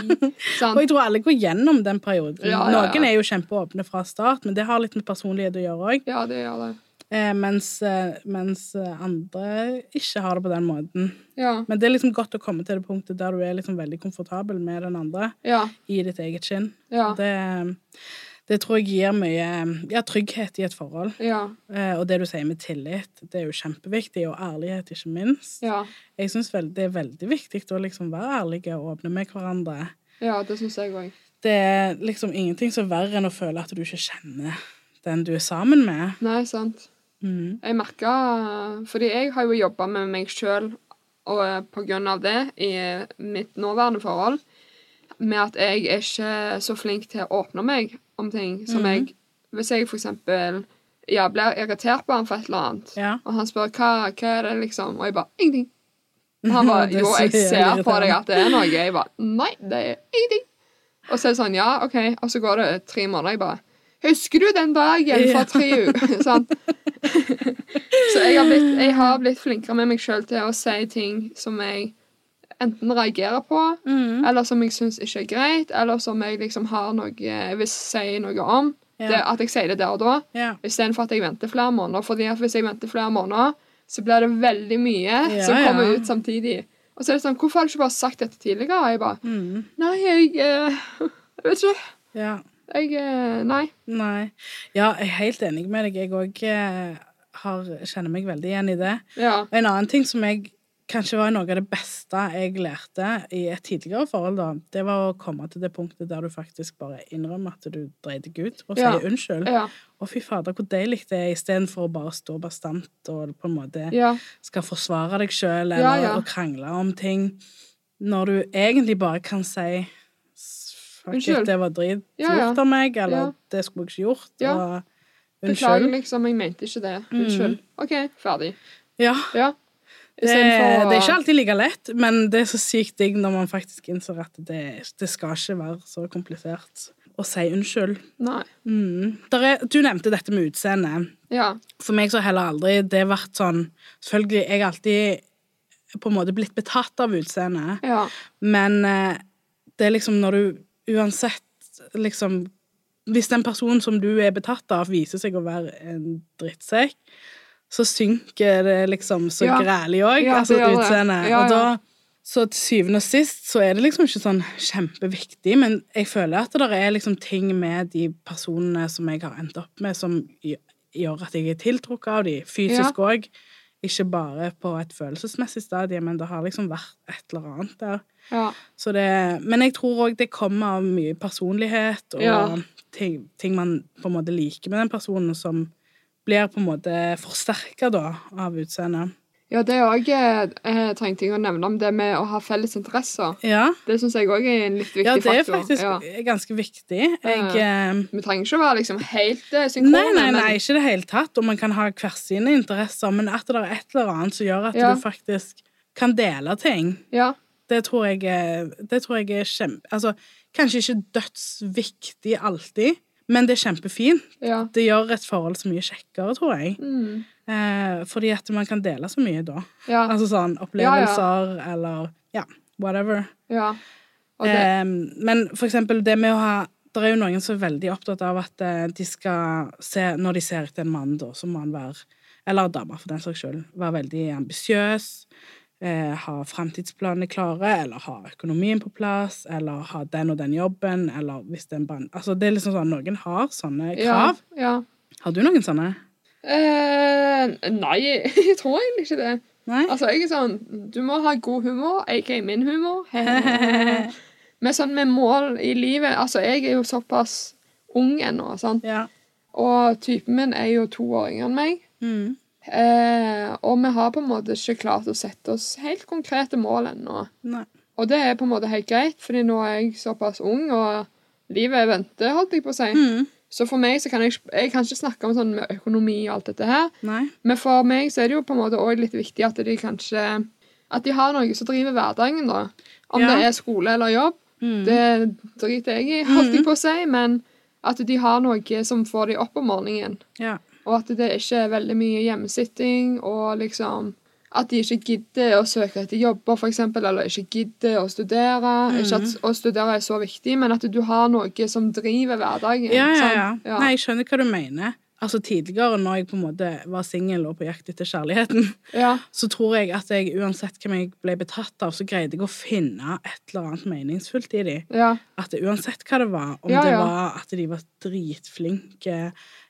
B: Sant?
A: Og jeg tror alle går gjennom den perioden.
B: Ja, ja, ja.
A: Noen er jo kjempeåpne fra start, men det har litt med personlighet å gjøre òg.
B: Ja, det gjør det.
A: Eh, mens, eh, mens eh, andre ikke har det på den måten.
B: Ja.
A: Men det er liksom godt å komme til det punktet der du er liksom veldig komfortabel med den andre
B: Ja.
A: i ditt eget skinn.
B: Ja.
A: Det, det tror jeg gir mye ja, trygghet i et forhold.
B: Ja.
A: Eh, og det du sier med tillit, det er jo kjempeviktig, og ærlighet ikke minst.
B: Ja.
A: Jeg syns vel, det er veldig viktig å liksom være ærlige og åpne med hverandre.
B: ja det syns jeg òg.
A: Det er liksom ingenting så verre enn å føle at du ikke kjenner den du er sammen med.
B: Nei, sant.
A: Mm.
B: Jeg merka Fordi jeg har jo jobba med meg sjøl på grunn av det i mitt nåværende forhold. Med at jeg er ikke så flink til å åpne meg om ting som jeg Hvis jeg for eksempel ja, blir irritert på han for et eller annet,
A: Ja.
B: og han spør hva, hva er det liksom, og jeg bare ingenting.
A: [LAUGHS]
B: Og han bare
A: Det er
B: jo,
A: så
B: jeg ser
A: irriterende.
B: på deg at det er noe. Jeg bare nei, det er ingenting. Og så er det sånn, ja, OK. Og så går det tre måneder, jeg bare Husker du den dagen
A: Ja.
B: for tre uker? [LAUGHS] sånn. Så jeg har, blitt, jeg har blitt flinkere med meg sjøl til å si ting som jeg enten reagerer på,
A: Mm.
B: eller som jeg syns ikke er greit, eller som jeg liksom har noe Jeg vil si noe om.
A: Ja.
B: Det, at jeg sier det der og da,
A: Ja.
B: istedenfor at jeg venter flere måneder. Fordi at hvis jeg venter flere måneder, så blir det veldig mye
A: Ja,
B: som kommer
A: ja.
B: ut samtidig. Og så er det sånn Hvorfor har du ikke bare sagt dette tidligere? Og jeg bare
A: Mm.
B: Nei, jeg eh, [LAUGHS] Jeg vet ikke.
A: ja.
B: Jeg eh, Nei.
A: Nei. Ja, jeg er helt enig med deg. Jeg òg kjenner meg veldig igjen i det.
B: Ja.
A: Og en annen ting som jeg kanskje var noe av det beste jeg lærte i et tidligere forhold, da, det var å komme til det punktet der du faktisk bare innrømmer at du dreit deg ut, og
B: Ja.
A: sier unnskyld.
B: Ja.
A: Å, fy fader, hvor deilig det er, istedenfor å bare stå bastant og på en måte
B: Ja.
A: skal forsvare deg sjøl eller
B: Ja, ja.
A: å krangle om ting, når du egentlig bare kan si s- Fuck
B: Unnskyld.
A: it, det var drit
B: Ja, ja.
A: gjort av meg, eller
B: Ja.
A: det skulle jeg ikke gjort,
B: Ja.
A: og
B: Beklager,
A: unnskyld.
B: liksom. Jeg mente ikke det.
A: Mm.
B: Unnskyld. OK, ferdig.
A: Ja.
B: Ja.
A: Det, det
B: Istedenfor å-
A: er ikke alltid like lett, men det er så sykt digg når man faktisk innser at det, det skal ikke være så komplisert å si unnskyld.
B: Nei.
A: Mm. Der er, du nevnte dette med utseendet.
B: Ja.
A: For meg så har heller aldri det vært sånn Selvfølgelig, jeg har alltid på en måte blitt betatt av utseendet.
B: Ja.
A: Men eh, det er liksom når du uansett liksom Hvis den personen som du er betatt av, viser seg å være en drittsekk, så synker det liksom så
B: Ja.
A: grælig òg,
B: Ja, det
A: altså
B: gjør det.
A: utseendet.
B: Ja,
A: Og
B: ja.
A: da så til syvende og sist så er det liksom ikke sånn kjempeviktig, men jeg føler at det er liksom ting med de personene som jeg har endt opp med, som i- gjør at jeg er tiltrukket av de, fysisk òg. Ikke bare på et følelsesmessig stadie, men det har liksom vært et eller annet der.
B: Ja.
A: Så det, men jeg tror òg det kommer av mye personlighet og
B: Ja.
A: ting, ting man på en måte liker med den personen, som blir på en måte forsterka da av utseendet.
B: ja, det er òg eh, trengte jeg å nevne om det med å ha felles interesser.
A: Ja.
B: Det syns jeg òg er en litt viktig
A: ja, det er
B: faktor.
A: faktisk
B: Ja.
A: ganske viktig. Jeg eh,
B: Vi trenger ikke å være liksom helt eh, synkrone.
A: Nei, nei,
B: men-
A: nei, ikke i det hele tatt. Og man kan ha hver sine interesser, men at det er et eller annet som gjør at
B: Ja.
A: du faktisk kan dele ting,
B: Ja,
A: det tror jeg er, det tror jeg er kjempe... Altså, kanskje ikke dødsviktig alltid, men det er kjempefint.
B: ja.
A: Det gjør et forhold så mye kjekkere, tror jeg.
B: Mm,
A: Eh, fordi at man kan dele så mye da.
B: ja,
A: Altså sånn opplevelser eller ja, whatever.
B: ja. Og det,
A: Eh, men for eksempel det med å ha Det er jo noen som er veldig opptatt av at eh, de skal se Når de ser etter en mann, da, så må han være Eller en dame, for den saks skyld. Være veldig ambisiøs. Eh, ha framtidsplanene klare, eller ha økonomien på plass, eller ha den og den jobben, eller hvis det er en brann... Altså, det er liksom sånn noen har sånne
B: ja,
A: krav.
B: ja.
A: Har du noen sånne?
B: Eh, nei, [LAUGHS] jeg tror egentlig ikke det.
A: Nei?
B: Altså, jeg er sånn Du må ha god humor, aka min humor.
A: [LAUGHS]
B: Men sånn med mål i livet Altså, jeg er jo såpass ung ennå, sant.
A: Ja.
B: Og typen min er jo to år yngre enn meg.
A: Mm.
B: Eh, og vi har på en måte ikke klart å sette oss helt konkrete mål ennå.
A: Nei.
B: Og det er på en måte helt greit, fordi nå er jeg såpass ung, og livet venter, holdt jeg på å si.
A: Mm.
B: Så for meg så kan jeg, ikke- jeg kan ikke snakke om sånn med økonomi og alt dette her,
A: Nei.
B: men for meg så er det jo på en måte også litt viktig at de kanskje At de har noe som driver hverdagen, da. Om
A: Ja.
B: det er skole eller jobb,
A: Mm.
B: det driter jeg i, holdt jeg på å si, men at de har noe som får de opp om morgenen.
A: Ja.
B: Og at det ikke er veldig mye hjemmesitting, og liksom at de ikke gidder å søke etter jobber, for eksempel, eller ikke gidder å studere. Ikke at
A: Mhm.
B: å studere er så viktig, men at du har noe som driver hverdagen.
A: Ja, ja,
B: sant?
A: ja. Sånn. Nei, jeg skjønner hva du mener. Altså Tidligere, når jeg på en måte var singel og på jakt etter kjærligheten, [LAUGHS]
B: ja.
A: så tror jeg at jeg uansett hvem jeg ble betatt av, så greide jeg å finne et eller annet meningsfullt i dem.
B: Ja,
A: At det, uansett hva det var, om
B: Ja,
A: det
B: ja.
A: var at de var dritflinke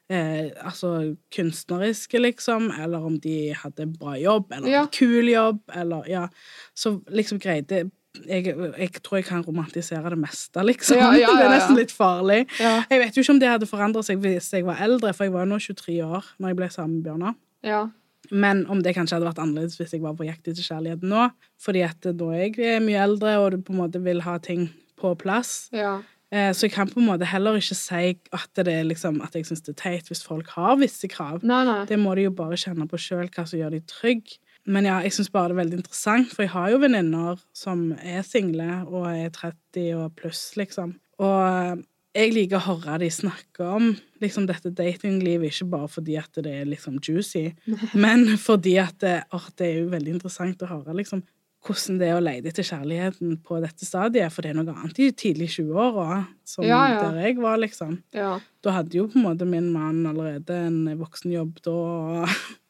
A: eh, altså kunstneriske, liksom, eller om de hadde en bra jobb, eller
B: Ja.
A: en kul jobb, eller ja Så liksom greide jeg, jeg tror jeg kan romantisere det meste, liksom.
B: Ja,
A: [LAUGHS]
B: ja,
A: Det
B: ja,
A: er
B: ja.
A: nesten litt farlig.
B: ja,
A: Jeg vet jo ikke om det hadde forandret seg hvis jeg var eldre, for jeg var jo nå 23 år når jeg ble sammen med Bjørnar.
B: ja.
A: Men om det kanskje hadde vært annerledes hvis jeg var på jakt etter kjærlighet nå. Fordi at da er jeg mye eldre, og du på en måte vil ha ting på plass.
B: ja.
A: Eh, Så jeg kan på en måte heller ikke si at, det er liksom, at jeg syns det er teit hvis folk har visse krav.
B: Nei, nei.
A: Det må de jo bare kjenne på sjøl, hva som gjør de trygg. Men ja, jeg syns bare det er veldig interessant, for jeg har jo venninner som er single og er 30 og pluss, liksom. Og jeg liker å høre de snakke om liksom dette datinglivet, ikke bare fordi at det er liksom
B: [LAUGHS]
A: juicy, men fordi at det, åh, det er jo veldig interessant å høre liksom hvordan det er å leide etter kjærligheten på dette stadiet, for det er noe annet i tidlig 20-åra, som
B: Ja, ja.
A: der jeg var, liksom.
B: Ja,
A: Da hadde jo på en måte min mann allerede en voksen jobb da, og,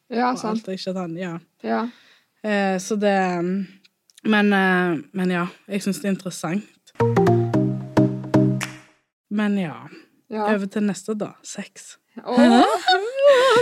B: ja
A: og alt
B: sant.
A: og ikke at han, ja.
B: Ja.
A: Eh, så det Men, eh, men ja, jeg syns det er interessant. Men ja,
B: ja.
A: over til neste, da. Sex. [LAUGHS]
B: Åh,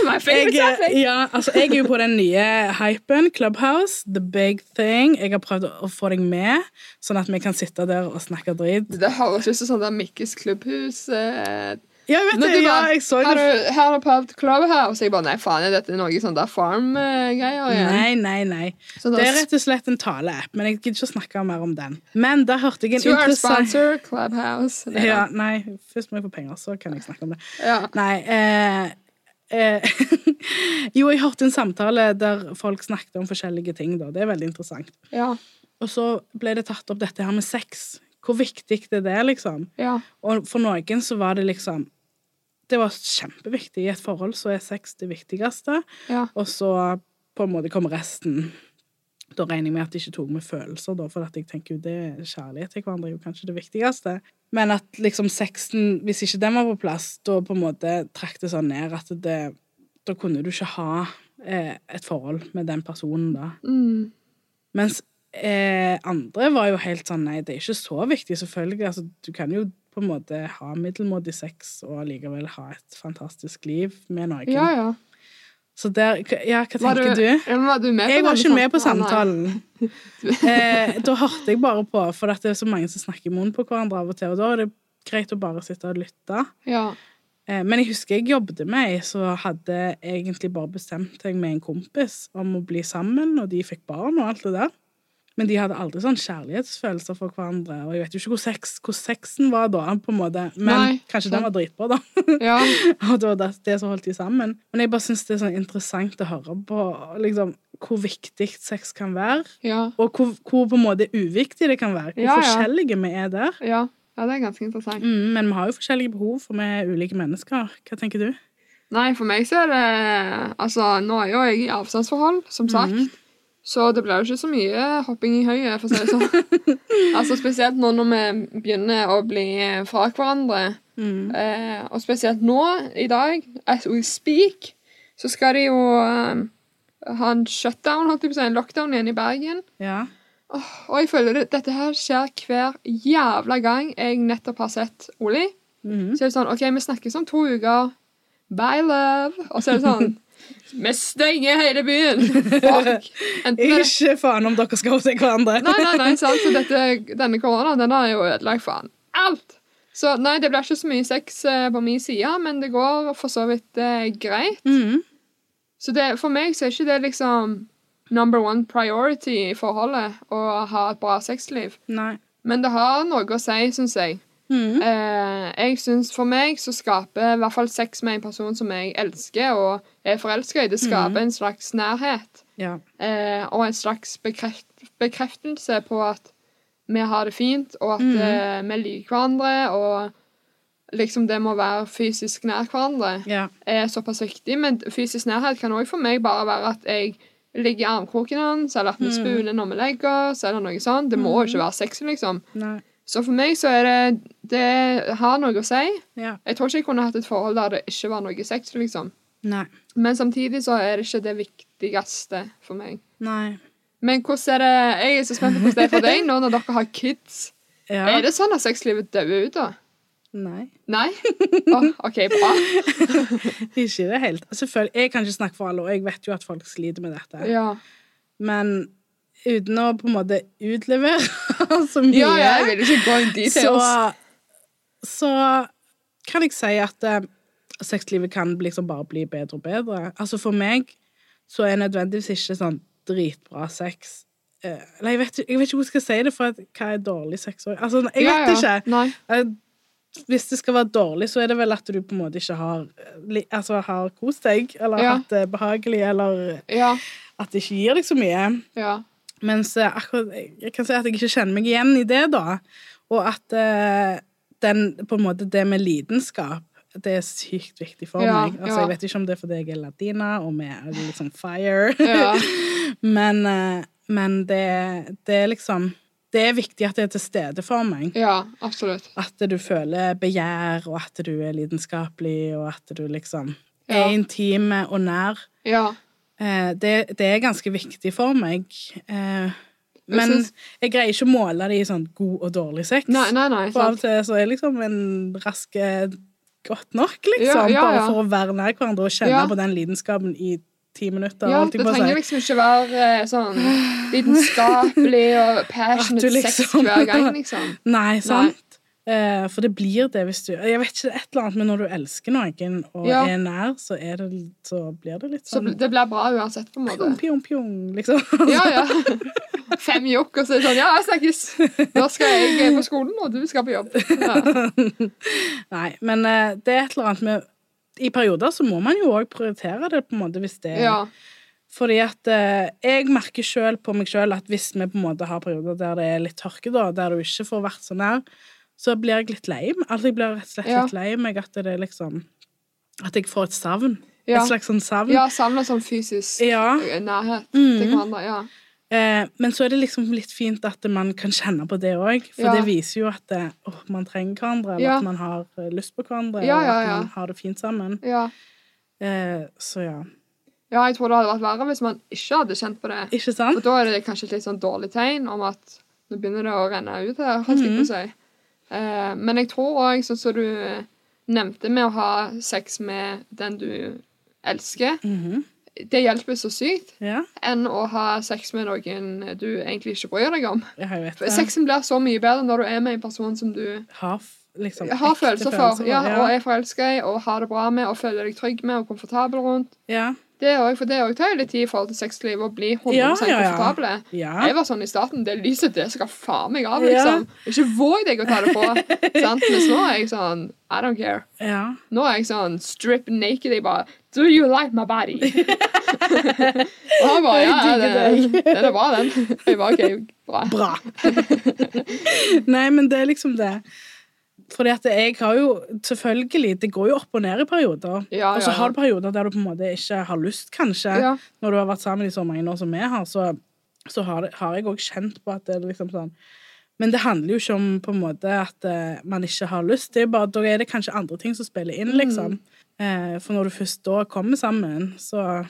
B: my favorite
A: Jeg,
B: topic!
A: ja, altså, jeg er jo på den nye hypen, Clubhouse, the big thing. Jeg har prøvd å få deg med, sånn at vi kan sitte der og snakke drit.
B: Det høres ut som sånn der Mikkes klubbhus. Eh,
A: Ja, vet du,
B: Når du
A: ja,
B: bare,
A: jeg så
B: har,
A: det.
B: du, har du prøvd Clubhouse? Jeg bare, nei faen, er dette noe sånn der farm-greier igjen?
A: Nei, nei, nei.
B: Sånn
A: Det
B: der
A: er rett og slett en taleapp, men jeg gidder ikke å snakke mer om den. Men da hørte jeg en
B: To our
A: interessant
B: sponsor, Clubhouse. Nei,
A: ja, Nei, først må jeg få penger, så kan jeg snakke om det.
B: Ja.
A: Nei eh, eh, [LAUGHS] Jo, jeg hørte en samtale der folk snakket om forskjellige ting, da. Det er veldig interessant.
B: Ja.
A: Og så ble det tatt opp dette her med sex. Hvor viktig det er, liksom.
B: ja.
A: Og for noen så var det liksom Det var kjempeviktig. I et forhold så er sex det viktigste.
B: ja.
A: Og så på en måte kom resten. Da regner jeg med at det ikke tok med følelser, da, for at jeg tenker jo det er kjærlighet til hverandre er jo kanskje det viktigste. Men at liksom sexen, hvis ikke den var på plass, da på en måte trakk det sånn ned at det Da kunne du ikke ha eh, et forhold med den personen, da.
B: Mm.
A: Mens eh, andre var jo helt sånn Nei, det er ikke så viktig, selvfølgelig. Altså, du kan jo på på en måte ha middelmådig sex og likevel ha et fantastisk liv med noen.
B: Ja, ja.
A: Så der Ja, hva
B: Var
A: tenker du?
B: Ja, men var du med på
A: Jeg var
B: denne
A: ikke med på
B: samtalen?
A: samtalen. Eh, da hørte jeg bare på, for at det er så mange som snakker i munnen på hverandre av og til, og da er det greit å bare sitte og lytte.
B: Ja.
A: Eh, men jeg husker jeg jobbet med ei som hadde egentlig bare bestemt seg med en kompis om å bli sammen, og de fikk barn og alt det der. Men de hadde aldri sånn kjærlighetsfølelser for hverandre, og jeg vet jo ikke hvor, sex, hvor sexen var da, på en måte. Men
B: Nei,
A: kanskje
B: sant.
A: den var dritbra, da.
B: ja.
A: [LAUGHS] Og det var det, det som holdt de sammen. Men jeg bare syns det er sånn interessant å høre på liksom, hvor viktig sex kan være.
B: Ja.
A: Og hvor, hvor på en måte uviktig det kan være. Hvor
B: Ja, ja.
A: forskjellige vi er der.
B: Ja. ja, det er ganske interessant.
A: Mm, men vi har jo forskjellige behov, for vi er ulike mennesker. Hva tenker du?
B: Nei, for meg så er det Altså, nå er jo jeg i avstandsforhold, som sagt. Så det blir jo ikke så mye hopping i høyet, for å si det sånn. altså, spesielt nå når vi begynner å bli fra hverandre.
A: Mm.
B: Eh, og spesielt nå, i dag, as we speak, så skal de jo eh, ha en shutdown, holdt jeg på å si, en lockdown igjen i Bergen.
A: Ja.
B: Åh, og jeg føler det, dette her skjer hver jævla gang jeg nettopp har sett Oli.
A: Mm.
B: Så er det sånn OK, vi snakkes om to uker. Bye, love. Og så er det sånn [LAUGHS] Vi stenger hele byen! [LAUGHS] Fuck. Enten er det
A: Ikke faen om dere skal se hverandre.
B: Nei, nei, nei, sant? Så dette, denne korona, den har jo ødelagt faen alt. Så nei, det blir ikke så mye sex eh, på min side, men det går for så vidt eh, greit.
A: [LAUGHS] Mm.
B: Så det, for meg så er ikke det liksom number one priority i forholdet å ha et bra sexliv.
A: Nei.
B: Men det har noe å si, syns jeg.
A: Mm.
B: Eh, jeg synes For meg så skaper i hvert fall sex med en person som jeg elsker og er forelska i, det skaper
A: Mhm.
B: en slags nærhet.
A: Ja.
B: Eh, og en slags bekreft bekreftelse på at vi har det fint, og at
A: Mhm.
B: eh, vi liker hverandre. Og liksom det med å være fysisk nær hverandre
A: ja.
B: er såpass viktig. Men fysisk nærhet kan òg for meg bare være at jeg ligger i armkroken hans, eller at vi
A: Mhm.
B: spooner når vi legger oss, eller noe sånt. Det må jo ikke være sexy, liksom.
A: Nei.
B: Så for meg så er det Det har noe å si.
A: Ja.
B: Jeg tror ikke jeg kunne hatt et forhold der det ikke var noe sex, liksom.
A: Nei.
B: Men samtidig så er det ikke det viktigste for meg.
A: Nei.
B: Men hvordan er det Jeg er så spent på hvordan det er for deg nå når dere har kids.
A: Ja.
B: Er det sånn at sexlivet dauer ut, da?
A: Nei. [LAUGHS]
B: Nei? Åh, OK, bra.
A: Ikke i det hele tatt. Selvfølgelig, Jeg kan ikke snakke for alle, og jeg vet jo at folk sliter med dette.
B: Ja.
A: Men uten å på en måte utlevere [LAUGHS] så mye
B: ja, ja, jeg vil ikke gå inn dit.
A: så,
B: Så...
A: så kan jeg si at eh, sexlivet kan liksom bare bli bedre og bedre. Altså for meg så er nødvendigvis ikke sånn dritbra sex eh, Eller jeg vet, jeg vet ikke hvordan jeg skal si det, for at, hva er dårlig sex også? Altså, jeg
B: ja,
A: vet
B: ja.
A: ikke.
B: Nei.
A: Eh, Hvis det skal være dårlig, så er det vel at du på en måte ikke har, eh, li- altså, har kost deg, eller
B: Ja.
A: hatt det behagelig, eller
B: Ja.
A: at det ikke gir deg så mye.
B: Ja.
A: Mens eh, akkurat, jeg jeg kan si at jeg ikke kjenner meg igjen i det, da. Og at eh, den, på en måte, det med lidenskap, det er sykt viktig for
B: Ja,
A: meg. Altså,
B: ja.
A: Jeg vet ikke om det er fordi jeg er latina, og vi er litt sånn fire.
B: [LAUGHS] Ja.
A: men eh, men det, det er liksom Det er viktig at det er til stede for meg.
B: ja absolutt.
A: At du føler begjær, og at du er lidenskapelig, og at du liksom
B: Ja.
A: er intime og nær.
B: Ja.
A: Eh, det, det er ganske viktig for meg. Eh,
B: Jeg
A: men
B: synes-
A: jeg greier ikke å måle det i sånn god og dårlig sex.
B: Nei, nei, nei.
A: for av og
B: Sant.
A: til så er liksom en rask eh, godt nok, liksom.
B: Ja, ja,
A: Bare
B: ja.
A: for å være nær hverandre og kjenne
B: Ja.
A: på den lidenskapen i ti minutter.
B: Ja,
A: holdt
B: det
A: jeg på å si.
B: trenger liksom ikke være eh, sånn lidenskapelig og
A: At du
B: passionate sex
A: liksom-
B: hver
A: [LAUGHS]
B: gang, liksom.
A: Nei, sant? Eh, for det blir det hvis du Jeg vet ikke, det er et eller annet, men når du elsker noen og
B: Ja.
A: er nær, så, er det, så blir det litt
B: Så
A: sånn
B: det blir bra uansett, på en måte.
A: pjong, pjong, pjong, liksom.
B: Ja, ja. Fem jokk, og så er det sånn Ja, jeg snakkes! Da skal jeg på skolen, og du skal på jobb.
A: [LAUGHS]
B: Ja.
A: Nei, men eh, det er et eller annet med I perioder så må man jo òg prioritere det, på en måte, hvis det
B: ja.
A: Fordi at eh, jeg merker sjøl på meg sjøl at hvis vi på en måte har perioder der det er litt tørke, da, der du ikke får vært så nær, så blir jeg litt lei meg. Altså, jeg blir rett og slett
B: Ja.
A: litt lei meg at det er liksom At jeg får et savn.
B: Ja.
A: Et slags sånn savn.
B: ja savner sånn fysisk eh,
A: Ja.
B: nærhet til
A: Mhm.
B: hverandre. Ja.
A: Eh, men så er det liksom litt fint at man kan kjenne på det òg, for
B: Ja.
A: det viser jo at eh, åh, man trenger hverandre, eller
B: Ja.
A: at man har eh, lyst på hverandre,
B: Ja,
A: og
B: ja,
A: at
B: ja.
A: man har det fint sammen.
B: Ja.
A: Eh, så ja.
B: ja, jeg tror det hadde vært verre hvis man ikke hadde kjent på det.
A: Ikke
B: Og
A: sant? Mhm.
B: da er det kanskje et litt sånn dårlig tegn om at nå begynner det å renne ut her. holdt jeg på å si. Eh, men jeg tror òg, sånn som du nevnte, med å ha sex med den du elsker
A: Mhm.
B: Det hjelper så sykt
A: Ja,
B: enn å ha sex med noen du egentlig ikke bryr deg om.
A: jeg vet
B: For
A: det.
B: Sexen blir så mye bedre når du er med en person som du
A: eh, Har f- liksom
B: har
A: ekte
B: følelser for, ja,
A: ja.
B: og er forelska i, og har det bra med, og føler deg trygg med og komfortabel rundt.
A: ja.
B: Det er også, for det er også tar jo litt tid i forhold til sexlivet å bli 100
A: Ja, ja, ja.
B: komfortable.
A: ja.
B: Jeg var sånn i starten. Det lyset det skal faen meg av,
A: Ja.
B: liksom. Ikke våg deg å ta det på. sant? Mens nå er jeg sånn I don't care.
A: ja.
B: Nå er jeg sånn strip naked. Jeg bare Do you like my
A: [LAUGHS]
B: body? og han bare Ja, ja,
A: Jeg
B: det, den er bra, den. Jeg bare OK, bra.
A: Bra. [LAUGHS] Nei, men det er liksom det. Fordi at jeg har jo selvfølgelig Det går jo opp og ned i perioder.
B: Ja,
A: Og så
B: ja,
A: har
B: ja.
A: du perioder der du på en måte ikke har lyst, kanskje.
B: Ja.
A: Når du har vært sammen i så mange år som vi har, så, så har, det, har jeg òg kjent på at det er liksom sånn Men det handler jo ikke om på en måte at eh, man ikke har lyst. Det er jo bare, Da er det kanskje andre ting som spiller inn, liksom.
B: Mm.
A: Eh, for når du først da kommer sammen, så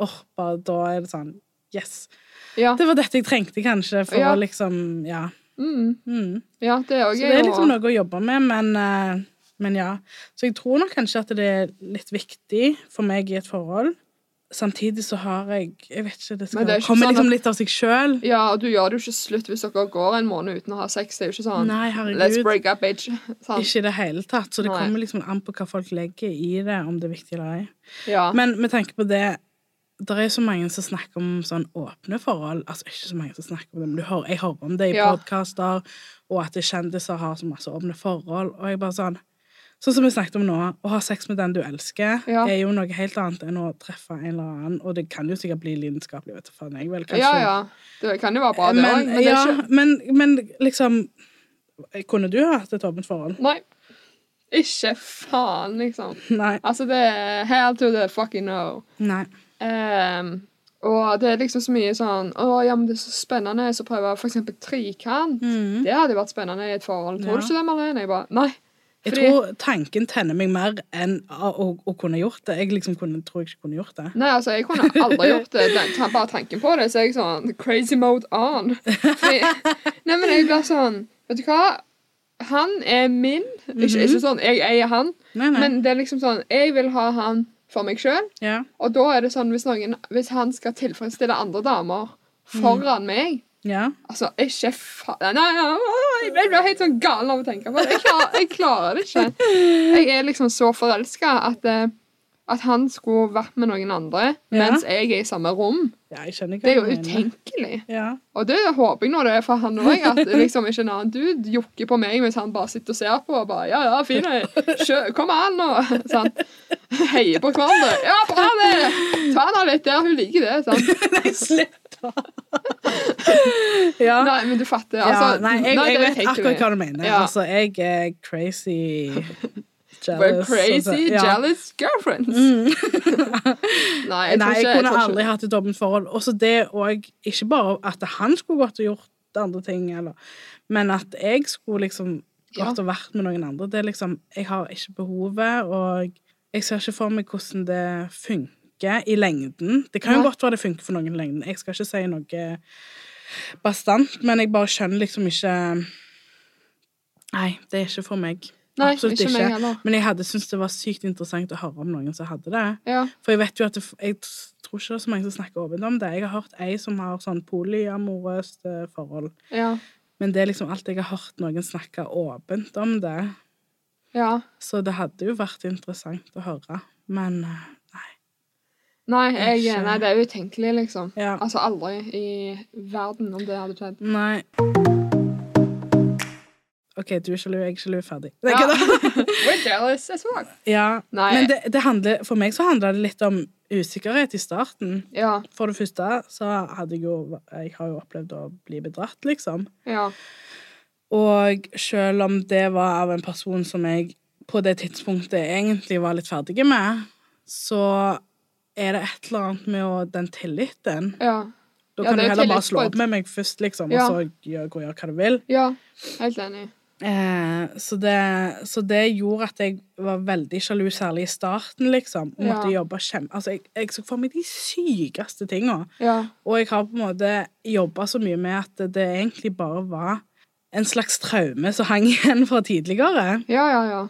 A: åh, bare da er det sånn Yes!
B: Ja.
A: Det var dette jeg trengte, kanskje, for
B: Ja.
A: å liksom Ja.
B: Mm,
A: Mm.
B: ja, det er
A: Så
B: òg
A: det er liksom noe å jobbe med, men, eh, men ja. Så jeg tror nok kanskje at det er litt viktig for meg i et forhold. Samtidig så har jeg Jeg vet ikke, det, skal,
B: Men det er
A: det
B: ikke
A: kommer
B: sånn
A: liksom
B: at-
A: litt av seg sjøl.
B: Ja, og du gjør det jo ikke slutt hvis dere går en måned uten å ha sex. Det er jo ikke sånn
A: Nei, herregud.
B: Let's break up, bitch. [LAUGHS] Sant?
A: Ikke i det hele tatt. Så det
B: Nei.
A: kommer liksom an på hva folk legger i det, om det er viktig eller ei.
B: Ja.
A: Men med tanke på det det er jo så mange som snakker om sånn åpne forhold. Altså ikke så mange som snakker om det, men du hører, jeg hører om det i
B: Ja.
A: podkaster, og at det er kjendiser har så masse åpne forhold. Og jeg bare sånn Sånn som vi snakket om nå, å ha sex med den du elsker,
B: Ja.
A: er jo noe helt annet enn å treffe en eller annen. Og det kan jo sikkert bli lidenskapelig, vet du faen jeg vel. Kanskje
B: ja, ja. Det kan jo være bra, det òg,
A: men,
B: men, det
A: ja,
B: er ikke
A: men, men liksom Kunne du hatt et åpent forhold?
B: Nei. Ikke faen, liksom.
A: Nei.
B: Altså, det er hell to the fucking no.
A: Nei.
B: Ehm, og det er liksom så mye sånn Å, ja, men det er så spennende så prøver jeg for eksempel trikant.
A: Mhm.
B: Det hadde jo vært spennende i et forhold. Tror
A: Ja.
B: du ikke det, Marlene? Jeg bare Nei.
A: Jeg
B: Fordi-
A: tror tanken tenner meg mer enn å, å, å kunne gjort det. Jeg liksom kunne, tror jeg ikke kunne gjort det.
B: Nei, altså, jeg kunne aldri gjort det. Den, ta- bare tanken på det, så er jeg sånn Crazy mode on. Fordi, nei, men jeg blir sånn Vet du hva? Han er min. Ikke, ikke sånn jeg eier han,
A: Mhm. Nei, nei.
B: men det er liksom sånn Jeg vil ha han for meg sjøl.
A: ja.
B: Og da er det sånn hvis, noen, hvis han skal tilfredsstille andre damer foran meg
A: ja.
B: Altså, ikke faen Nei, nei, nei, jeg blir helt sånn gal av å tenke på det. Jeg klarer, jeg klarer det ikke. Jeg er liksom så forelska at, eh, at han skulle vært med noen andre
A: Ja.
B: mens jeg er i samme rom.
A: Ja, jeg skjønner
B: Det er jo
A: du mener.
B: utenkelig.
A: Ja. [LAUGHS]
B: Og det håper jeg nå det er for han òg, at liksom ikke en annen dude jokker på meg mens han bare sitter og ser på og bare Ja, ja, fin jeg. Kjø- Kom an, nå. Sant? Heier på hverandre. Ja, bra det! Ta henne litt der. Hun liker det. sant?
A: Nei, slutt da! ja.
B: Nei, men du fatter.
A: ja.
B: Altså,
A: Nei, jeg, jeg
B: det er
A: vet
B: helt utenkelig.
A: akkurat hva du mener.
B: Ja.
A: Altså, jeg er
B: [LAUGHS]
A: crazy
B: We're
A: jealous.
B: crazy
A: altså. Ja. Mm.
B: jealous girlfriends. [LAUGHS] Nei,
A: Nei, jeg
B: jeg tror ikke
A: kunne
B: tror ikke-
A: aldri hatt et åpent forhold. Også det og Ikke bare at han skulle gått og gjort andre ting, eller, men at jeg skulle liksom
B: Ja.
A: gått og vært med noen andre. Det er liksom, Jeg har ikke behovet, og jeg ser ikke for meg hvordan det funker i lengden. Det kan jo
B: Nei.
A: godt være det funker for noen i lengden. Jeg skal ikke si noe bastant, men jeg bare skjønner liksom ikke Nei, det er ikke for meg.
B: Nei,
A: Absolutt
B: ikke meg
A: ikke.
B: heller.
A: Men jeg hadde syntes det var sykt interessant å høre om noen som hadde det.
B: Ja.
A: For jeg vet jo at det, jeg tror ikke det er så mange som snakker åpent om det. Jeg har hørt ei som har sånn polyamorøst eh, forhold.
B: Ja.
A: Men det er liksom alt jeg har hørt noen snakke åpent om det.
B: ja.
A: Så det hadde jo vært interessant å høre. Men eh, nei.
B: Nei, jeg,
A: Ikke-
B: nei, det er utenkelig, liksom.
A: Ja.
B: Altså aldri i verden om det hadde skjedd.
A: Nei. OK, du er sjalu, jeg er sjalu. Ferdig. Nei,
B: Ja.
A: kødda.
B: [LAUGHS] We're jealous as fuck.
A: Ja.
B: Nei.
A: Men det, det handler, for meg så handla det litt om usikkerhet i starten.
B: Ja.
A: For det første så hadde jeg jo Jeg har jo opplevd å bli bedratt, liksom.
B: Ja.
A: Og selv om det var av en person som jeg på det tidspunktet egentlig var litt ferdig med, så er det et eller annet med å, den tilliten.
B: Ja.
A: Da
B: Ja,
A: kan du
B: det er
A: heller bare slå
B: tillitsbrudd.
A: opp med meg først, liksom,
B: Ja.
A: og så gjør, gå og gjør hva du vil.
B: ja. Helt enig.
A: Eh, så, det, så det gjorde at jeg var veldig sjalu, særlig i starten, liksom. Og måtte
B: Ja.
A: jobbe kjempe... Altså, jeg, jeg så for meg de sykeste tinga.
B: Ja.
A: Og jeg har på en måte jobba så mye med at det egentlig bare var en slags traume som hang [LAUGHS] igjen fra tidligere.
B: Ja, ja, ja.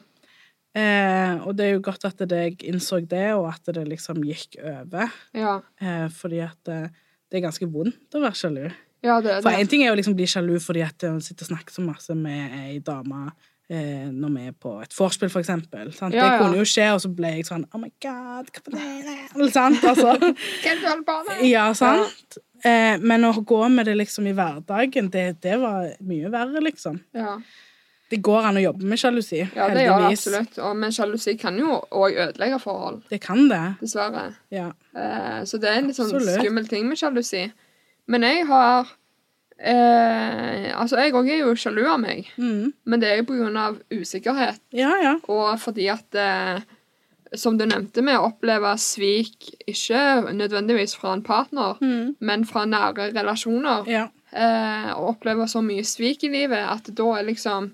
A: Eh, og det er jo godt at jeg innså det, og at det liksom gikk over.
B: Ja,
A: Eh, fordi at eh, det er ganske vondt å være sjalu.
B: ja det,
A: For
B: det.
A: én ting er jo liksom bli sjalu fordi at hun sitter og snakker så masse med ei dame eh, når vi er på et vorspiel, for eksempel. Sant?
B: Ja, ja.
A: Det kunne jo skje, og så ble jeg sånn Oh my God, hva var det? Eller sant? Altså.
B: Kan du holde på med?
A: Ja, sant? Eh, men å gå med det liksom i hverdagen, det, det var mye verre, liksom.
B: Ja.
A: Det går an å jobbe med sjalusi,
B: ja, det gjør det absolutt. Og, men sjalusi kan jo òg ødelegge forhold,
A: Det kan det.
B: dessverre.
A: Ja.
B: Eh, så det er en litt sånn
A: Absolutt.
B: skummel ting med sjalusi. Men jeg har eh, Altså, jeg òg er jo sjalu av meg,
A: Mm.
B: men det er jo på grunn av usikkerhet.
A: ja, ja.
B: Og fordi at eh, Som du nevnte, med å oppleve svik ikke nødvendigvis fra en partner,
A: Mm.
B: men fra nære relasjoner.
A: Ja.
B: Eh, og oppleve så mye svik i livet at da er liksom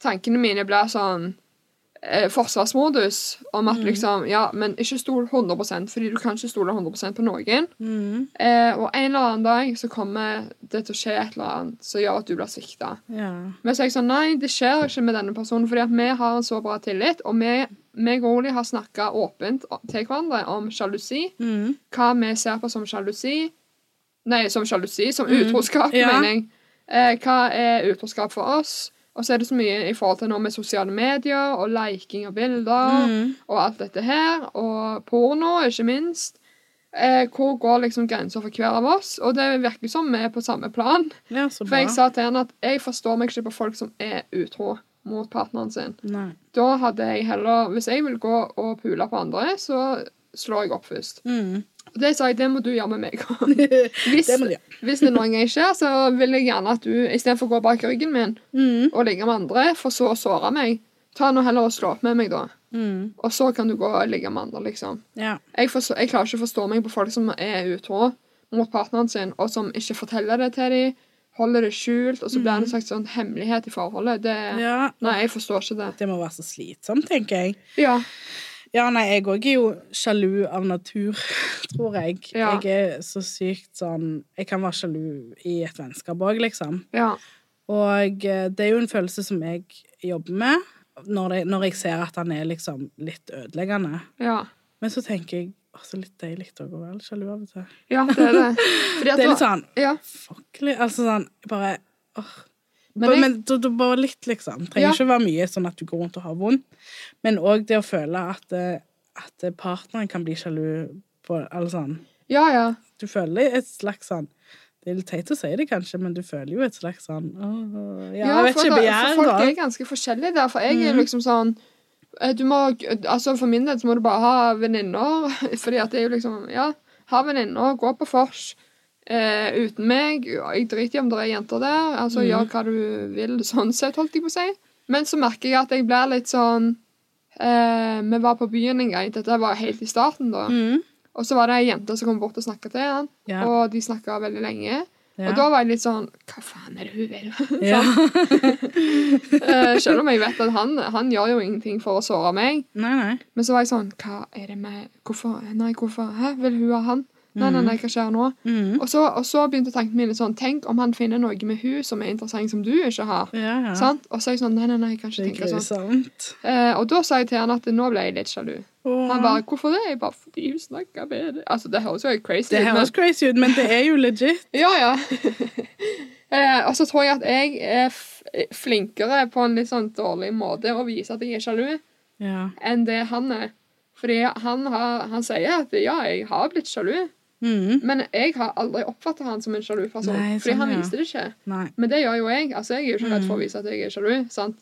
B: Tankene mine blir sånn eh, forsvarsmodus om at liksom Ja, men ikke stol 100 fordi du kan ikke stole 100 på noen.
A: Mm.
B: Eh, og en eller annen dag så kommer det til å skje et eller annet som gjør at du blir svikta.
A: ja.
B: Men så er jeg sånn, nei, det skjer ikke med denne personen, fordi at vi har en så bra tillit, og vi, meg og Oli har snakket åpent til hverandre om sjalusi,
A: Mm.
B: hva vi ser på som sjalusi, nei, som sjalusi, som utroskap,
A: Mm. Ja.
B: mener jeg. Eh, hva er utroskap for oss? Og så er det så mye i forhold til noe med sosiale medier, og liking av bilder,
A: Mm.
B: og alt dette her, og porno, ikke minst. Eh, hvor går liksom grenser for hver av oss? Og det virker som vi er på samme plan.
A: ja, så
B: For
A: bra.
B: jeg sa til henne at jeg forstår meg ikke på folk som er utro mot partneren sin.
A: Nei.
B: Da hadde jeg heller Hvis jeg vil gå og pule på andre, så slår jeg opp først. [LAUGHS]
A: Mm.
B: Og det sa jeg, det må du gjøre
A: [LAUGHS]
B: med meg. hvis,
A: Det må du gjøre.
B: hvis det noen gang skjer, så vil jeg gjerne at du istedenfor å gå bak ryggen min
A: Mm.
B: og ligge med andre, for så å såre meg, ta nå heller og slå opp med meg, da.
A: Mm.
B: Og så kan du gå og ligge med andre, liksom.
A: Ja.
B: Jeg, forstår, jeg klarer ikke å forstå meg på folk som er utro mot partneren sin, og som ikke forteller det til dem, holder det skjult, og så blir det en slags sånn hemmelighet i forholdet. Det,
A: Mm. ja.
B: Nei, jeg forstår ikke det.
A: Det må være så slitsomt, tenker jeg.
B: Ja,
A: Ja, nei, jeg òg er jo sjalu av natur, [LAUGHS] tror jeg.
B: Ja.
A: Jeg er så sykt sånn Jeg kan være sjalu i et vennskap òg, liksom.
B: ja,
A: Og eh, det er jo en følelse som jeg jobber med når, det, når jeg ser at han er liksom litt ødeleggende.
B: ja.
A: Men så tenker jeg også litt deilig òg å være sjalu av og til.
B: Ja, det
A: [LAUGHS]
B: er det. Fordi at
A: Det er
B: da-
A: litt sånn
B: Ja,
A: fuck litt, Altså sånn bare åh.
B: Men
A: Bare-
B: jeg-
A: Men da- da bare litt, liksom. Trenger
B: Ja.
A: ikke være mye sånn at du går rundt og har vondt. Men òg det å føle at, eh, at partneren kan bli sjalu på Eller sånn
B: ja, ja.
A: Du føler et slags sånn Det er litt teit å si det, kanskje, men du føler jo et slags sånn åh, Ja, jeg vet
B: for
A: ikke.
B: da- for
A: Begjær,
B: Folk
A: da.
B: er ganske forskjellige der, for jeg er
A: Mhm.
B: liksom sånn eh, du må, altså For min del så må du bare ha venninner. [LAUGHS] fordi at det er jo liksom Ja, ha venninner, gå på vors eh, uten meg. og Jeg driter i om det er jenter der. altså
A: Mhm.
B: Gjør hva du vil, sånn sett, holdt jeg på å si. Men så merker jeg at jeg blir litt sånn eh, Vi var på byen en gang. Dette var helt i starten, da.
A: Mm.
B: Og så var det ei jente som kom bort og snakka til han,
A: Ja.
B: og de snakka veldig lenge.
A: Ja.
B: Og da var jeg litt sånn Hva faen er det hun
A: [LAUGHS]
B: vil? [LAUGHS]
A: ja.
B: Eh, Selv om jeg vet at han, han gjør jo ingenting for å såre meg.
A: Nei, nei.
B: Men så var jeg sånn Hva er det med Hvorfor? Nei, hvorfor? Hæ? Vil hun ha han? Nei, nei, nei, hva skjer nå?
A: Mm.
B: Og så, og så begynte tankene mine sånn Tenk om han finner noe med hun som er interessant, som du ikke har.
A: Ja, ja.
B: Sant? Og så er jeg sånn Nei, nei, nei, jeg kan
A: Det
B: ikke
A: er
B: tenke sånn.
A: grusomt.
B: Eh, og da sa jeg til han at nå ble jeg litt sjalu. Han
A: Åh.
B: bare Hvorfor det? Jeg bare Fordi hun snakker bedre. Altså, det høres jo helt crazy
A: Det
B: ut, men
A: høres crazy ut, men det er jo
B: [LAUGHS]
A: legit.
B: Ja, ja. eh, og så tror jeg at jeg er f flinkere på en litt sånn dårlig måte å vise at jeg er sjalu.
A: Ja.
B: enn det han er. Fordi han, har, han sier at ja, jeg har blitt sjalu,
A: Mm.
B: men jeg har aldri oppfatta han som en sjalu person.
A: Nei,
B: fordi
A: sånn,
B: han
A: ja. Mm.
B: viste det ikke.
A: Nei.
B: Men det gjør jo jeg. Altså, jeg er jo ikke redd for å vise at jeg er sjalu. sant?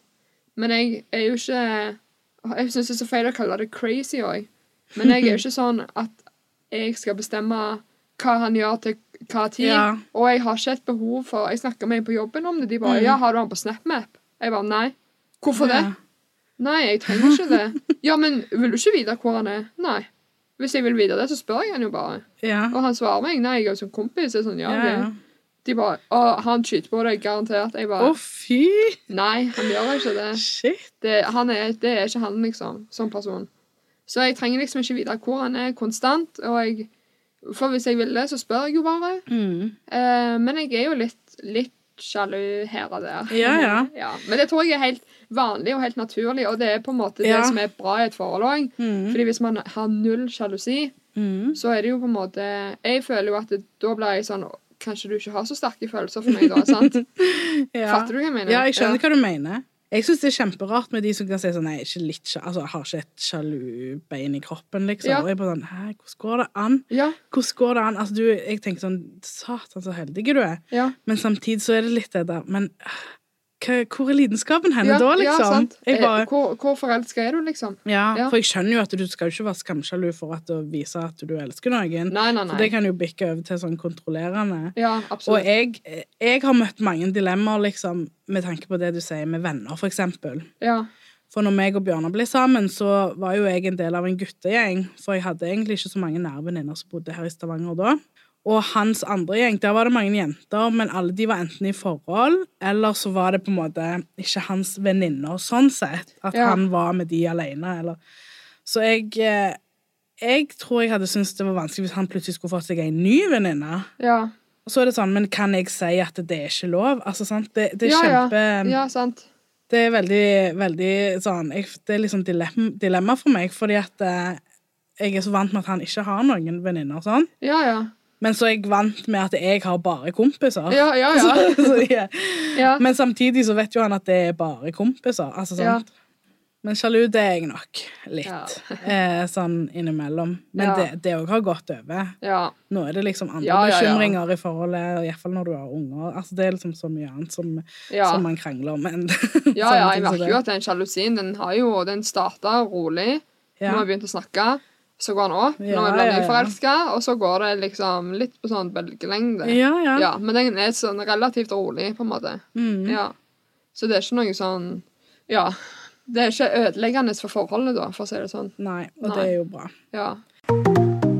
B: Men jeg er jo ikke Jeg syns det er så feil å kalle det crazy òg. Men jeg er
A: [LAUGHS]
B: jo ikke sånn at jeg skal bestemme hva han gjør til hva tid.
A: Ja.
B: Og jeg har ikke et behov for Jeg snakka med en på jobben om det. De
A: Mm.
B: bare 'Ja, har du han på SnapMap?' Jeg bare 'Nei'. Hvorfor det?
A: Ja.
B: Nei, jeg trenger ikke det. Ja, men vil du ikke vite hvor han er? Nei. Hvis jeg vil vite det, så spør jeg han jo bare.
A: Ja.
B: Og han svarer meg. Nei, jeg er jo som kompis. Jeg er sånn, ja,
A: Ja, ja.
B: ok. De bare, å, han skyter på deg, garantert. Jeg
A: Å,
B: bare,
A: fy!
B: nei, han gjør ikke det.
A: Shit.
B: Det, han er, det er ikke han, liksom, som person. Så jeg trenger liksom ikke vite hvor han er konstant, og jeg, for hvis jeg vil det, så spør jeg jo bare.
A: Mm.
B: Eh, men jeg er jo litt, litt sjalu her og der.
A: Ja, ja.
B: Men det tror jeg er helt vanlig og helt naturlig, og det er på en måte
A: Ja.
B: det som er bra i et forhold òg.
A: Mm.
B: Fordi hvis man har null sjalusi,
A: Mm.
B: så er det jo på en måte Jeg føler jo at det, da blir jeg sånn «Å, Kanskje du ikke har så sterke følelser for
A: [LAUGHS]
B: meg, da? sant?
A: Ja.
B: Fatter du hva jeg mener?
A: Ja, jeg skjønner hva du mener. Jeg syns det er kjemperart med de som kan si sånn Nei, ikke litt, sja- altså, jeg har ikke et sjalu bein i kroppen, liksom.
B: Ja.
A: Og jeg bare sånn Hæ, hvordan går det an?
B: Ja,
A: Hvordan går det an? Altså, du, jeg tenker sånn Satan, så heldig du er.
B: ja.
A: Men samtidig så er det litt det der Men øh, hva, hvor er lidenskapen henne
B: ja,
A: da,
B: Ja,
A: liksom?
B: sant.
A: jeg
B: Eh,
A: bare,
B: Hvor, hvor forelska er du, liksom?
A: ja,
B: ja.
A: For jeg skjønner jo at du skal jo ikke være skamsjalu for at å vise at du elsker noen.
B: Nei, nei,
A: For
B: nei.
A: det kan jo bikke over til sånn kontrollerende.
B: Ja,
A: Og
B: absolutt.
A: jeg, eh, jeg har møtt mange dilemmaer liksom, med tanke på det du sier med venner, for eksempel.
B: Ja,
A: For når meg og Bjørnar ble sammen, så var jo jeg en del av en guttegjeng. For jeg hadde egentlig ikke så mange nære venninner som bodde her i Stavanger da. Og hans andre gjeng, der var det mange jenter, men alle de var enten i forhold, eller så var det på en måte ikke hans venninner sånn sett. At
B: Ja.
A: han var med de alene, eller Så jeg, eh, jeg tror jeg hadde syntes det var vanskelig hvis han plutselig skulle fått seg en ny venninne.
B: ja.
A: Og så er det sånn, men kan jeg si at det er ikke lov? Altså, sant? Det, det er
B: ja,
A: kjempe
B: ja. ja, sant.
A: Det er veldig, veldig sånn jeg, Det er liksom dilemma, dilemma for meg, fordi at eh, jeg er så vant med at han ikke har noen venninner og sånn.
B: Ja, ja.
A: Men så er jeg vant med at jeg har bare kompiser.
B: Ja, ja, ja.
A: [LAUGHS] Så- så, ja.
B: ja.
A: Men samtidig så vet jo han at det er bare kompiser. Altså,
B: Ja.
A: sant? Men sjalu, det er jeg nok. Litt.
B: Ja.
A: [LAUGHS] eh, sånn innimellom. Men
B: Ja.
A: det- det òg har gått over.
B: ja.
A: Nå er det liksom andre
B: Ja, ja, ja.
A: bekymringer i forholdet, og i hvert fall når du har unger. Altså, det er liksom så mye annet som,
B: Ja.
A: som man krangler om. enn
B: Ja,
A: sånne
B: ja,
A: ting
B: jeg
A: som
B: merker
A: det.
B: jo at den sjalusien, den har jo, den starta rolig.
A: Ja.
B: Nå har jeg begynt å snakke, så går den opp.
A: Ja,
B: Nå blir
A: ja,
B: jeg
A: ja.
B: forelska, og så går det liksom litt på sånn bølgelengde.
A: Ja, ja.
B: Ja, men den er sånn relativt rolig, på en måte.
A: Mm.
B: Ja. Så det er ikke noe sånn Ja. Det er ikke ødeleggende for forholdet, da, for å si det sånn.
A: Nei, og
B: Nei.
A: det er jo bra.
B: Ja.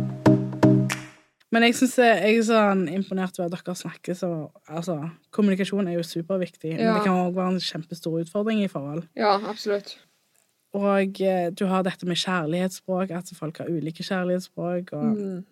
A: Men jeg, synes jeg, jeg er sånn imponert over at dere snakker så altså, Kommunikasjon er jo superviktig, men
B: Ja.
A: det kan òg være en kjempestor utfordring i forhold.
B: Ja, absolutt.
A: Og eh, du har dette med kjærlighetsspråk, at folk har ulike kjærlighetsspråk. Og
B: Mm.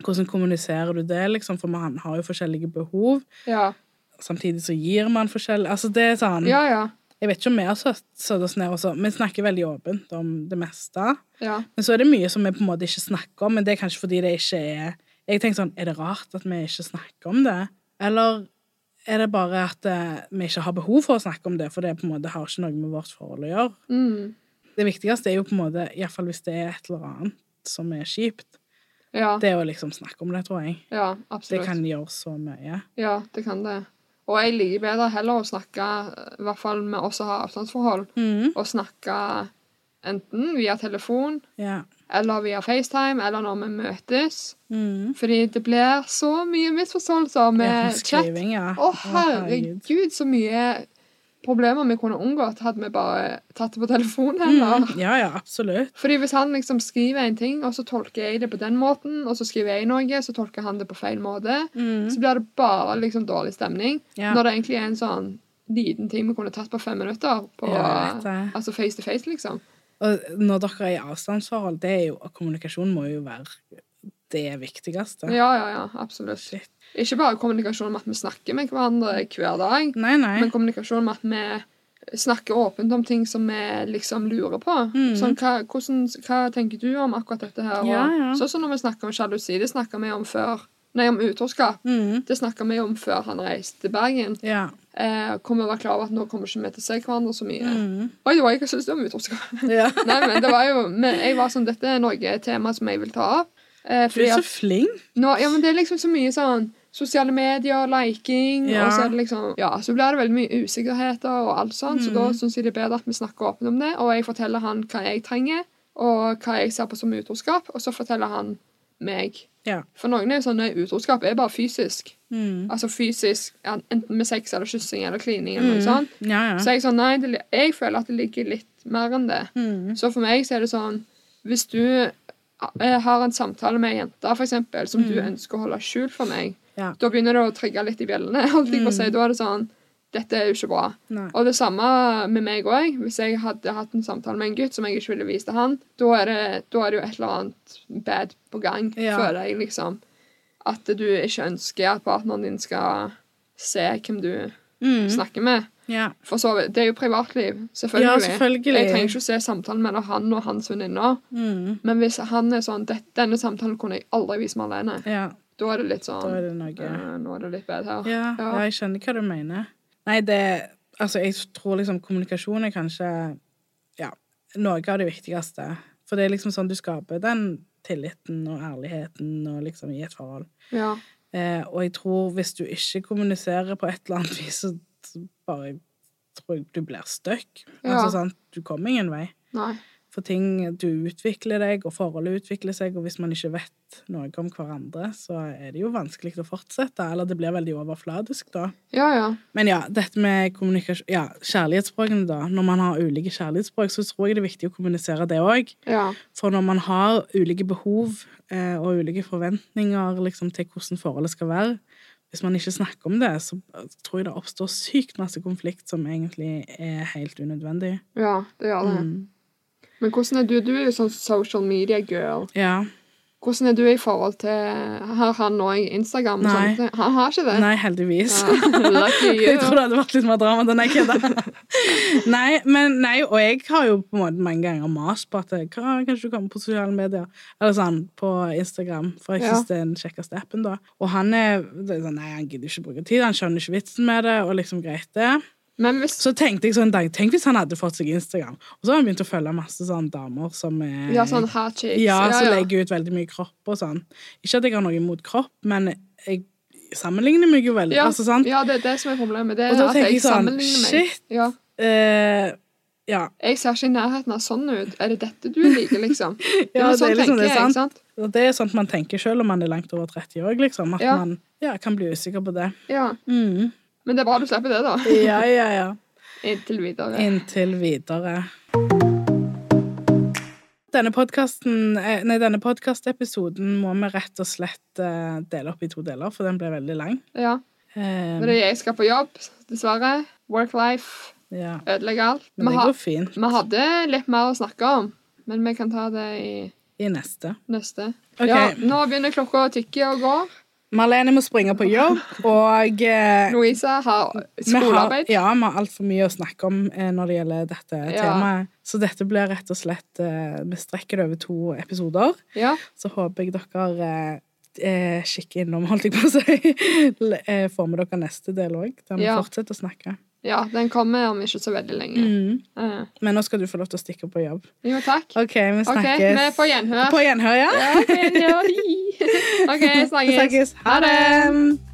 A: Hvordan kommuniserer du det, liksom? For man har jo forskjellige behov.
B: Ja.
A: Samtidig så gir man forskjellig Altså, det er sånn
B: Ja, ja.
A: Jeg vet ikke om vi har satt satt oss ned og så Vi snakker veldig åpent om det meste.
B: Ja.
A: Men så er det mye som vi på en måte ikke snakker om, men det er kanskje fordi det ikke er Jeg tenker sånn, er det rart at vi ikke snakker om det? Eller er det bare at eh, vi ikke har behov for å snakke om det, for det på en måte har ikke noe med vårt forhold å gjøre?
B: Mm.
A: Det viktigste er jo på en måte, iallfall hvis det er et eller annet som er kjipt,
B: Ja.
A: det å liksom snakke om det, tror jeg.
B: ja,
A: Det
B: absolutt.
A: kan gjøre så mye.
B: Ja, det kan det. Og jeg liker bedre heller å snakke, i hvert fall med oss som har avstandsforhold,
A: Mhm,
B: å snakke enten via telefon
A: ja.
B: eller via FaceTime eller når vi møtes.
A: Mhm.
B: Fordi det blir så mye misforståelser
A: Ja,
B: med chat.
A: skriving, ja.
B: Å, herregud, så mye problemer vi kunne unngått hadde vi bare tatt det på telefon heller.
A: Mhm, Ja, ja, absolutt.
B: Fordi hvis han liksom skriver en ting, og så tolker jeg det på den måten, og så skriver jeg noe, så tolker han det på feil måte,
A: Mhm,
B: så blir det bare liksom dårlig stemning.
A: Ja.
B: Mm. Når det egentlig er en sånn liten ting vi kunne tatt på fem minutter. På,
A: Ja, jeg vet det.
B: altså face to face, liksom.
A: Og når dere er i avstandsforhold, det er jo, og kommunikasjon må jo være det viktigste.
B: Ja, ja, ja, absolutt.
A: Shit.
B: Ikke bare kommunikasjon med at vi snakker med hverandre hver dag,
A: Nei, nei.
B: men kommunikasjon med at vi snakker åpent om ting som vi liksom lurer på.
A: Mm.
B: Sånn, hva, hvordan, hva tenker du om akkurat dette
A: Ja,
B: her? Og
A: ja.
B: Sånn som når vi snakker om sjalusi, det snakker vi om før. Nei, om utroskap.
A: Mhm.
B: Det snakka vi om før han reiste til Bergen.
A: Ja.
B: Eh, kom vi var klar over at nå kommer ikke vi til å se hverandre så mye. [LAUGHS]
A: Mhm.
B: Oi, det var jeg ikke syntes om utroskap. [LAUGHS]
A: ja.
B: Nei, men det var jo men Jeg var sånn Dette er noe et tema som jeg vil ta opp. Eh,
A: Du
B: fordi
A: er så
B: at
A: flink.
B: nå, ja, men det er liksom så mye sånn sosiale medier, liking
A: Ja.
B: og så er det liksom, ja, så blir det veldig mye usikkerheter og alt sånt, så da
A: Mm.
B: syns jeg det er bedre at vi snakker åpent om det. Og jeg forteller han hva jeg trenger, og hva jeg ser på som utroskap, og så forteller han meg.
A: Ja.
B: For noen er jo sånn nei, utroskap er bare fysisk.
A: Mhm.
B: Altså fysisk, en- enten med sex eller kyssing eller klining eller noe sånt.
A: Mm. Ja, ja.
B: Så jeg er sånn, nei, det, li- jeg føler at det ligger litt mer enn det.
A: Mhm.
B: Så for meg så er det sånn Hvis du eh, har en samtale med ei jente for eksempel, som du ønsker å holde skjult for meg,
A: Mm. Ja. Mm.
B: da begynner det å trigge litt i bjellene. [LAUGHS] holdt jeg på å si. Da er det sånn Dette er jo ikke bra.
A: Nei.
B: Og det samme med meg òg. Hvis jeg hadde hatt en samtale med en gutt som jeg ikke ville vise til han, da er det, da er det jo et eller annet bad på gang,
A: Ja.
B: føler jeg, liksom. At du ikke ønsker at partneren din skal se hvem du
A: Mm.
B: snakker med.
A: Ja.
B: For så, vidt- Det er jo privatliv, selvfølgelig.
A: ja, selvfølgelig.
B: Jeg trenger ikke å se samtalen mellom han og hans venninner.
A: Mm.
B: Men hvis han er sånn "Det- 'Denne samtalen kunne jeg aldri vise meg alene',
A: Ja,
B: da er det litt sånn
A: da er det noe.
B: "Eh, Nå er det litt bedre her.
A: Ja,
B: Ja.
A: ja, jeg skjønner hva du mener. Nei, det Altså, jeg tror liksom kommunikasjon er kanskje ja, noe av det viktigste. For det er liksom sånn du skaper den tilliten og ærligheten og liksom i et forhold.
B: Ja.
A: Eh, og jeg tror hvis du ikke kommuniserer på et eller annet [LAUGHS] vis, så bare tror jeg du blir stuck.
B: Ja.
A: Altså, sant? Du kommer ingen vei.
B: Nei.
A: For ting Du utvikler deg, og forholdet utvikler seg, og hvis man ikke vet noe om hverandre, så er det jo vanskelig å fortsette. Eller det blir veldig overfladisk, da.
B: Ja, ja.
A: Men ja, dette med kommunikasjon Ja, kjærlighetsspråkene, da. Når man har ulike kjærlighetsspråk, så tror jeg det er viktig å kommunisere det òg.
B: Ja.
A: For når man har ulike behov eh, og ulike forventninger liksom, til hvordan forholdet skal være, hvis man ikke snakker om det, så eh, tror jeg det oppstår sykt masse konflikt som egentlig er helt unødvendig.
B: ja det gjør det.
A: Mm.
B: Men hvordan er du? Du er jo sånn social media girl.
A: Ja.
B: Hvordan er du i forhold til Har han òg Instagram? og
A: Nei.
B: sånne ting? Han har ikke det?
A: Nei, heldigvis. [LAUGHS]
B: Ja. Lucky you.
A: Jeg tror det hadde vært litt mer drama enn jeg kødder. [LAUGHS] nei, men nei, og jeg har jo på en måte mange ganger mast på at eh, hva, kanskje du kommer på sosiale medier, eller sånn, på Instagram, for jeg
B: Ja.
A: synes det er den kjekkeste appen da. Og han er, det er sånn, nei, han gidder ikke bruke tid, han skjønner ikke vitsen med det, og liksom greit det.
B: Men hvis
A: Så tenkte jeg sånn en dag, tenk hvis han hadde fått seg Instagram, og så har han begynt å følge masse sånne damer som er...
B: Ja, sånn hot chicks.
A: Ja, så legger jeg ut veldig mye kropp og sånn. Ikke at jeg har noe imot kropp, men jeg sammenligner meg jo veldig,
B: ja.
A: altså sant?
B: ja, det er det som er problemet. Det
A: Og
B: er
A: da
B: at
A: tenker
B: jeg
A: jeg sånn,
B: sammenligner meg.
A: shit.
B: Ja.
A: Eh, ja,
B: Jeg ser ikke i nærheten av sånn ut. Er det dette du liker, liksom?
A: [LAUGHS] Ja, det
B: men
A: er
B: sånn
A: liksom
B: tenker
A: det,
B: jeg,
A: sant?
B: ikke sant?
A: og det er sånt man tenker selv om man er langt over 30 år, liksom. At
B: Ja.
A: man ja, kan bli usikker på det.
B: Ja. [LAUGHS]
A: Mm.
B: Men det er bra du slipper det, da.
A: Ja, ja, ja.
B: Inntil videre.
A: Inntil videre. Denne podcasten, eh, nei, denne podcastepisoden må vi rett og slett eh, dele opp i to deler, for den ble veldig lang.
B: Ja.
A: Eh,
B: Fordi jeg skal på jobb, dessverre. Work-life
A: ja.
B: ødelegger alt.
A: Men
B: Vi,
A: det
B: ha,
A: går fint
B: vi hadde litt mer å snakke om, men vi kan ta det i
A: i neste.
B: neste.
A: Ok.
B: Ja, nå begynner klokka å tikke og gå.
A: Marlene må springe på jobb, og eh,
B: Louisa har
A: Vi har,
B: skolearbeid.
A: ja, vi har altfor mye å snakke om eh, når det gjelder dette
B: Ja.
A: temaet. Så dette blir rett og slett eh, Vi strekker det over to episoder.
B: Ja.
A: Så håper jeg dere eh, eh, kikker innom, holdt jeg på å si. [LAUGHS] L- eh, Får med dere neste del òg, der vi
B: Ja.
A: fortsetter å snakke.
B: ja, den kommer om ikke så veldig lenge.
A: Mm.
B: Eh,
A: Men nå skal du få lov til å stikke på jobb.
B: Jo, takk.
A: OK, vi
B: OK,
A: snakkes.
B: vi får gjenhør.
A: På gjenhør, ja. [LAUGHS]
B: Ja, OK, ja. OK,
A: Vi
B: snakkes.
A: snakkes. Ha det!